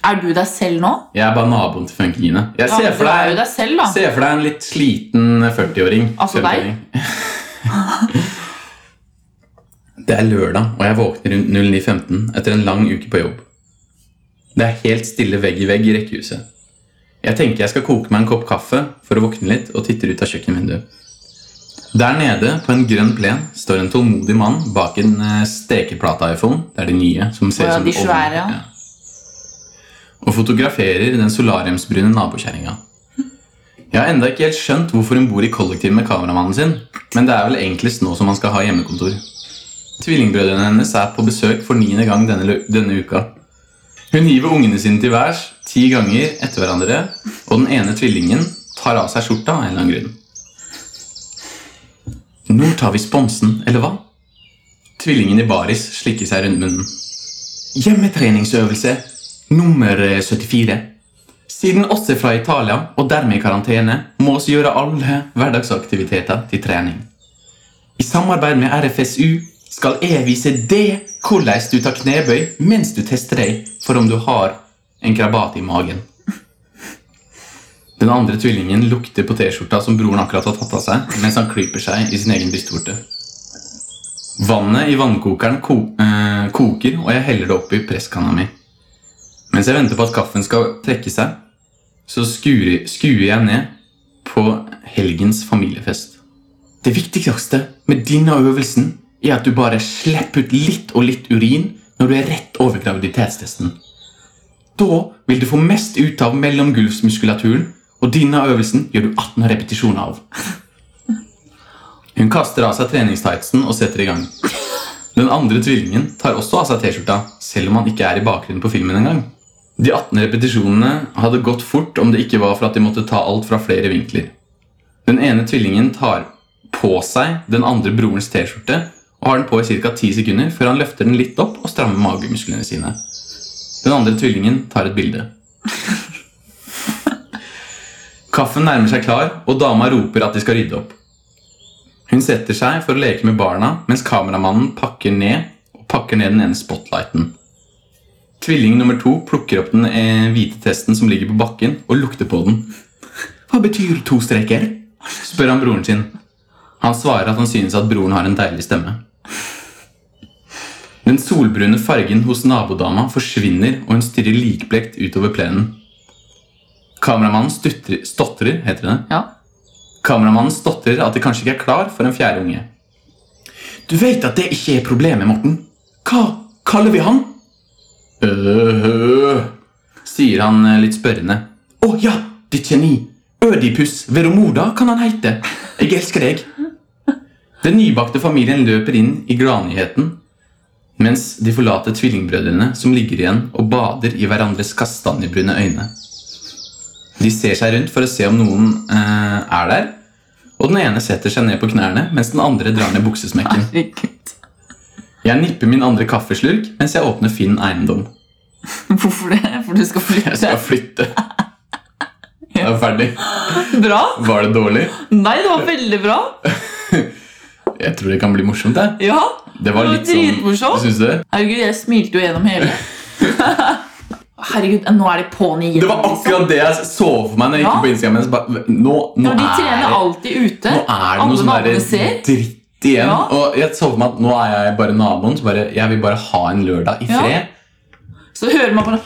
Speaker 3: Er du deg selv nå?
Speaker 1: Jeg er bare naboen til Funky-Gine. Jeg
Speaker 3: Ja,
Speaker 1: ser for
Speaker 3: du er jo
Speaker 1: deg,
Speaker 3: deg selv, da.
Speaker 1: se for deg en litt sliten 40-åring.
Speaker 3: Altså deg?
Speaker 1: 50-åring. Det er lørdag, og jeg våkner rundt 09.15 etter en lang uke på jobb. Det er helt stille vegg i vegg i rekkehuset. Jeg tenker jeg skal koke meg en kopp kaffe for å våkne litt og titter ut av kjøkkenvinduet. Der nede på en grønn plen står en tålmodig mann bak en eh, stekeplate-iPhone. Det er de nye. som ser
Speaker 3: Å ja,
Speaker 1: ut som
Speaker 3: de
Speaker 1: ovn.
Speaker 3: svære, ja.
Speaker 1: Og fotograferer den solariumsbrune nabokjerringa. Jeg har enda ikke helt skjønt hvorfor hun bor i kollektiv med kameramannen sin, men det er vel enklest nå som han skal ha hjemmekontor. Tvillingbrødrene hennes er på besøk for niende gang denne, lø- denne uka. Hun hiver ungene sine til værs ti ganger etter hverandre, og den ene tvillingen tar av seg skjorta av en eller annen grunn. Nå tar vi sponsen, eller hva? Tvillingen i baris slikker seg rundt munnen. Hjemmetreningsøvelse nummer 74. Siden oss er fra Italia, og dermed i karantene, må oss gjøre alle hverdagsaktiviteter til trening. I samarbeid med RFSU skal jeg vise deg hvordan du tar knebøy mens du tester deg for om du har en krabat i magen. Den andre tvillingen lukter på T-skjorta som broren akkurat har tatt av seg, mens han klyper seg i sin egen brystvorte. Vannet i vannkokeren ko eh, koker, og jeg heller det opp i presskanna mi. Mens jeg venter på at kaffen skal trekke seg, så skuer, skuer jeg ned på helgens familiefest. Det viktigste med denne øvelsen er at du bare slipper ut litt og litt urin når du er rett over graviditetstesten. Da vil du få mest ut av mellomgulvsmuskulaturen, og denne øvelsen gjør du 18 repetisjoner av. Hun kaster av seg treningstightsen og setter i gang. Den andre tvillingen tar også av seg T-skjorta, selv om han ikke er i bakgrunnen på filmen engang. De 18 repetisjonene hadde gått fort om det ikke var for at de måtte ta alt fra flere vinkler. Den ene tvillingen tar på seg den andre brorens T-skjorte og har den på i ca. 10 sekunder før han løfter den litt opp og strammer magemusklene sine. Den andre tvillingen tar et bilde. Kaffen nærmer seg klar, og dama roper at de skal rydde opp. Hun setter seg for å leke med barna, mens kameramannen pakker ned og pakker ned den ene spotlighten. Tvilling nummer to plukker opp den eh, hvite testen som ligger på bakken, og lukter på den. Hva betyr to streker? spør han broren sin. Han svarer at han synes at broren har en deilig stemme. Den solbrune fargen hos nabodama forsvinner, og hun stirrer likblekt utover plenen. Kameramannen stutrer, stotrer, heter det.
Speaker 3: Ja.
Speaker 1: Kameramannen stotrer at de kanskje ikke er klar for en fjerde unge. Du vet at det ikke er problemet, Morten. Hva kaller vi han? Øh, sier han eh, litt spørrende. Å ja, ditt geni. Ødipus Veromoda kan han heite. Jeg elsker deg. Den nybakte familien løper inn i gladnyheten mens de forlater tvillingbrødrene som ligger igjen og bader i hverandres kastanjebrune øyne. De ser seg rundt for å se om noen eh, er der, og den ene setter seg ned på knærne mens den andre drar ned buksesmekken.
Speaker 3: Herregud.
Speaker 1: Jeg nipper min andre kaffeslurk mens jeg åpner Finn eiendom.
Speaker 3: Hvorfor det? For du skal flytte?
Speaker 1: Jeg skal flytte. Jeg er ferdig.
Speaker 3: Bra!
Speaker 1: Var det dårlig?
Speaker 3: Nei, det var veldig bra.
Speaker 1: Jeg tror det kan bli morsomt. Jeg.
Speaker 3: Ja.
Speaker 1: Det var
Speaker 3: Det var
Speaker 1: litt sånn
Speaker 3: dritmorsomt.
Speaker 1: Syns du det?
Speaker 3: Herregud, jeg smilte jo gjennom hele. Herregud, nå er de på'n igjen.
Speaker 1: Det var
Speaker 3: liksom.
Speaker 1: akkurat det jeg så for meg når jeg
Speaker 3: Ja.
Speaker 1: gikk på Instagram. men så bare, Nå, nå
Speaker 3: Ja, de
Speaker 1: er
Speaker 3: trener
Speaker 1: det-
Speaker 3: alltid ute.
Speaker 1: Nå er det
Speaker 3: Alle
Speaker 1: noe sånn
Speaker 3: naboene
Speaker 1: der
Speaker 3: ser.
Speaker 1: dritt igjen.
Speaker 3: Ja.
Speaker 1: Og jeg så for meg at nå er jeg bare naboen. Så bare, jeg vil bare ha en lørdag i
Speaker 3: Ja.
Speaker 1: fred.
Speaker 3: Så hører man bare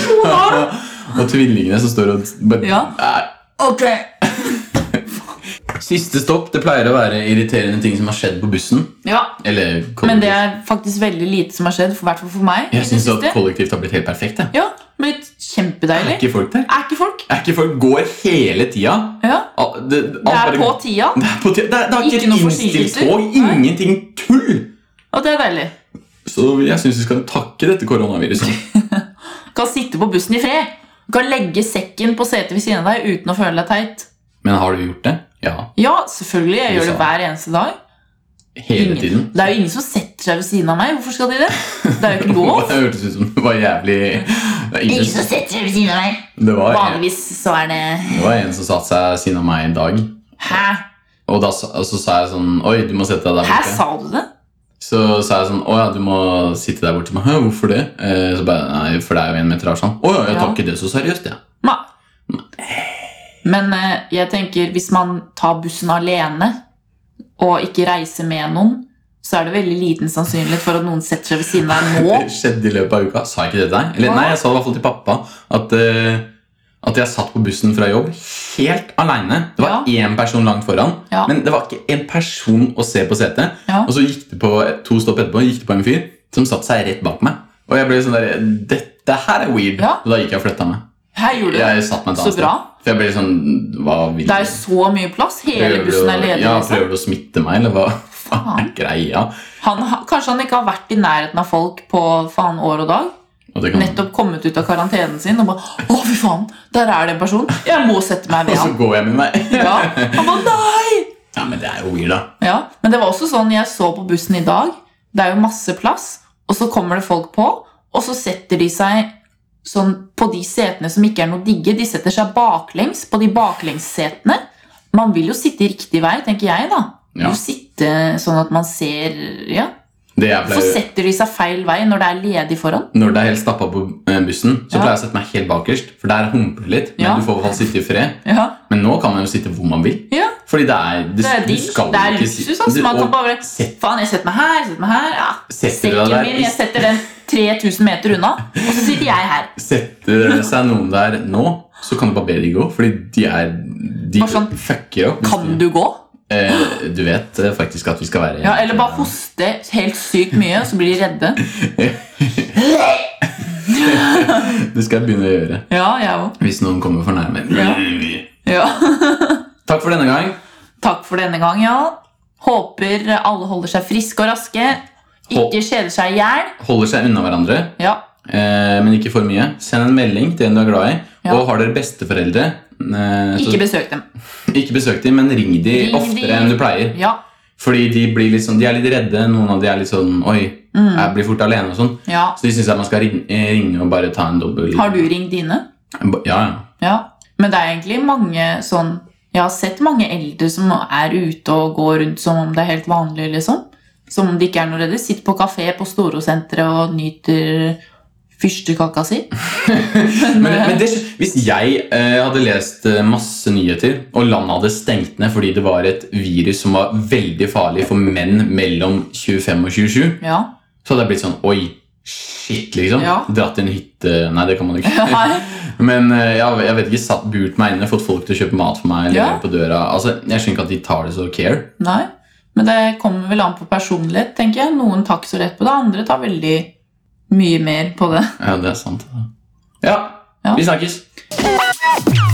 Speaker 3: Johan!
Speaker 1: og tvillingene som står og bare
Speaker 3: Ja.
Speaker 1: er,
Speaker 3: Ok.
Speaker 1: Siste stopp. Det pleier å være irriterende ting som har skjedd på bussen.
Speaker 3: Ja,
Speaker 1: Eller
Speaker 3: men
Speaker 1: kollektivt.
Speaker 3: det er faktisk veldig lite som har skjedd, i hvert fall for meg. i
Speaker 1: Jeg
Speaker 3: det
Speaker 1: syns at
Speaker 3: siste.
Speaker 1: kollektivt har blitt helt perfekt. Jeg.
Speaker 3: Ja, blitt
Speaker 1: Er
Speaker 3: kjempedeilig.
Speaker 1: ikke folk der?
Speaker 3: Er ikke folk?
Speaker 1: Er ikke folk går hele tida?
Speaker 3: Ja.
Speaker 1: Al- Det,
Speaker 3: Det
Speaker 1: alt
Speaker 3: er
Speaker 1: bare-
Speaker 3: på tida,
Speaker 1: Det er på tida. Det er, det er ikke,
Speaker 3: Ikke noe
Speaker 1: et innstilt
Speaker 3: forsinkelser.
Speaker 1: tog.
Speaker 3: Nei.
Speaker 1: Ingenting tull!
Speaker 3: og det er deilig.
Speaker 1: Så jeg syns vi skal takke dette koronaviruset.
Speaker 3: Kan sitte på bussen i fred. Kan legge sekken på setet ved siden av deg uten å føle deg teit.
Speaker 1: Men har du gjort det? Ja.
Speaker 3: Ja, selvfølgelig. Jeg
Speaker 1: Du
Speaker 3: gjør
Speaker 1: sa
Speaker 3: det hver eneste dag.
Speaker 1: Hele
Speaker 3: Ingen-
Speaker 1: tiden.
Speaker 3: Det er jo ingen som setter seg ved siden av meg. Hvorfor skal de det? Det er jo ikke lov.
Speaker 1: Det hørtes ut som det var jævlig det, er ingen
Speaker 3: Ingen
Speaker 1: som-
Speaker 3: som setter seg ved siden av meg.
Speaker 1: det, var en,
Speaker 3: Vanligvis så er det
Speaker 1: det var en som satte seg ved siden av meg i dag.
Speaker 3: Hæ?
Speaker 1: Og, da, sa- og så sa jeg sånn Oi, du må sette deg der
Speaker 3: Hæ,
Speaker 1: borte.
Speaker 3: sa du det?
Speaker 1: Så sa jeg sånn Å ja, du må sitte der borte. Men, Hæ, hvorfor det? Eh, Så bare, Nei, for det er jo en meter avstand. Å ja, jeg tar
Speaker 3: Ja.
Speaker 1: ikke det så seriøst, jeg.
Speaker 3: Nei. Men eh, jeg tenker hvis man tar bussen alene og ikke reiser med noen, så er det veldig liten sannsynlighet for at noen setter seg ved siden av deg nå.
Speaker 1: Det skjedde i løpet av uka. Sa jeg ikke det til deg? Eller
Speaker 3: Hva?
Speaker 1: nei, jeg sa det i hvert fall til pappa. At, eh, at jeg satt på bussen fra jobb helt aleine. Det var én person langt foran,
Speaker 3: Ja.
Speaker 1: men det var ikke en person å se på setet.
Speaker 3: Ja.
Speaker 1: Og så gikk det på to stopp etterpå gikk det på en fyr som satte seg rett bak meg. Og jeg ble sånn der, Dette her er weird.
Speaker 3: Ja.
Speaker 1: Og da gikk jeg og flytta meg.
Speaker 3: Her gjorde du det.
Speaker 1: Jeg satt meg et
Speaker 3: Så
Speaker 1: annet
Speaker 3: bra.
Speaker 1: sted. For jeg ble sånn Hva vil
Speaker 3: Det er
Speaker 1: du?
Speaker 3: så mye plass. Hele
Speaker 1: Prøver du
Speaker 3: bussen
Speaker 1: å-
Speaker 3: er ledig.
Speaker 1: Ja,
Speaker 3: liksom.
Speaker 1: prøver du å smitte meg, eller hva faen er greia?
Speaker 3: Han, ha- kanskje han ikke har vært i nærheten av folk på faen år og dag.
Speaker 1: Og det kan-
Speaker 3: Nettopp kommet ut av karantenen sin og bare Å, fy faen, der er det en person. Jeg må sette
Speaker 1: Og
Speaker 3: meg ved
Speaker 1: så
Speaker 3: han.
Speaker 1: går jeg min vei.
Speaker 3: Ja. Han bare, nei!
Speaker 1: Ja, men det er jo weird, da.
Speaker 3: Ja. Men det var også sånn jeg så på bussen i dag. Det er jo masse plass, og så kommer det folk på, og så setter de seg sånn på de setene som ikke er noe digge. De setter seg baklengs på de baklengssetene. Man vil jo sitte riktig vei, tenker jeg, da.
Speaker 1: Ja.
Speaker 3: Du sitte sånn at man ser Ja.
Speaker 1: Det jeg
Speaker 3: Så
Speaker 1: pleier,
Speaker 3: setter de seg feil vei når det er ledig foran.
Speaker 1: når det er helt stappa på eh, bussen, så
Speaker 3: Ja.
Speaker 1: pleier jeg å sette meg helt bakerst. For der humper det litt, men
Speaker 3: Ja.
Speaker 1: du får i hvert fall sitte i fred.
Speaker 3: Ja.
Speaker 1: Men nå kan man jo sitte hvor man vil.
Speaker 3: Ja.
Speaker 1: Fordi det er, det,
Speaker 3: Det er
Speaker 1: du
Speaker 3: digg.
Speaker 1: skal
Speaker 3: Det er
Speaker 1: ikke si-
Speaker 3: luksus. Altså.
Speaker 1: du-
Speaker 3: Man
Speaker 1: og
Speaker 3: kan bare Faen, jeg setter meg her, jeg setter meg her. Ja.
Speaker 1: Setter du
Speaker 3: Sekken
Speaker 1: deg der?
Speaker 3: min, jeg setter den 3000 meter unna, og så sitter jeg her.
Speaker 1: Setter det seg noen der nå, så kan du bare be de gå. Fordi de er De
Speaker 3: Bare sånn,
Speaker 1: fucker opp. hvis
Speaker 3: Kan
Speaker 1: de-
Speaker 3: du gå?
Speaker 1: Eh, du vet eh, faktisk at vi skal være
Speaker 3: Ja, eller bare hoste helt sykt mye, så blir de redde.
Speaker 1: Det skal jeg begynne å gjøre.
Speaker 3: Ja, jeg òg.
Speaker 1: Hvis noen kommer for nærme.
Speaker 3: Ja.
Speaker 1: Takk for denne gang.
Speaker 3: Takk for denne gang, ja. Håper alle holder seg friske og raske. Ikke kjeder seg i hjel.
Speaker 1: Holder seg unna hverandre.
Speaker 3: Ja.
Speaker 1: Eh, men ikke for mye. Send en melding til en du er glad i.
Speaker 3: Ja.
Speaker 1: Og har dere besteforeldre, eh, så
Speaker 3: Ikke besøk dem.
Speaker 1: ikke besøk dem, men ring de
Speaker 3: Ring de.
Speaker 1: oftere enn du pleier.
Speaker 3: Ja.
Speaker 1: Fordi de, blir litt sånn, de er litt redde. Noen av de er litt sånn Oi,
Speaker 3: Mm.
Speaker 1: jeg blir fort alene og sånn.
Speaker 3: ja.
Speaker 1: Så de syns man skal ringe, eh, ringe og bare ta en dobbel
Speaker 3: Har du ringt dine?
Speaker 1: Ja, ja.
Speaker 3: Ja, men det er egentlig mange sånn Jeg har sett mange eldre som er ute og går rundt som om det er helt vanlig, liksom. Som om de ikke er noe redde. Sitter på kafé på Storosenteret og nyter fyrstekaka si.
Speaker 1: Men,
Speaker 3: eh,
Speaker 1: men det, hvis jeg eh, hadde lest eh, masse nyheter, og landet hadde stengt ned fordi det var et virus som var veldig farlig for menn mellom 25 og 27
Speaker 3: eh, Ja.
Speaker 1: Så hadde jeg blitt sånn Oi, shit, liksom.
Speaker 3: Ja.
Speaker 1: Dratt til en hytte Nei, det kan man ikke.
Speaker 3: Nei.
Speaker 1: Men eh, jeg, jeg vet ikke, satt burt meg inne, fått folk til å kjøpe mat for meg. Eller
Speaker 3: Ja.
Speaker 1: på døra Altså, Jeg skjønner ikke at de tar det så care.
Speaker 3: Nei. Men det kommer vel an på personlighet, tenker jeg. Noen tar ikke så lett på det, andre tar veldig mye mer på det.
Speaker 1: Ja, det er sant. Ja,
Speaker 3: Ja.
Speaker 1: vi snakkes.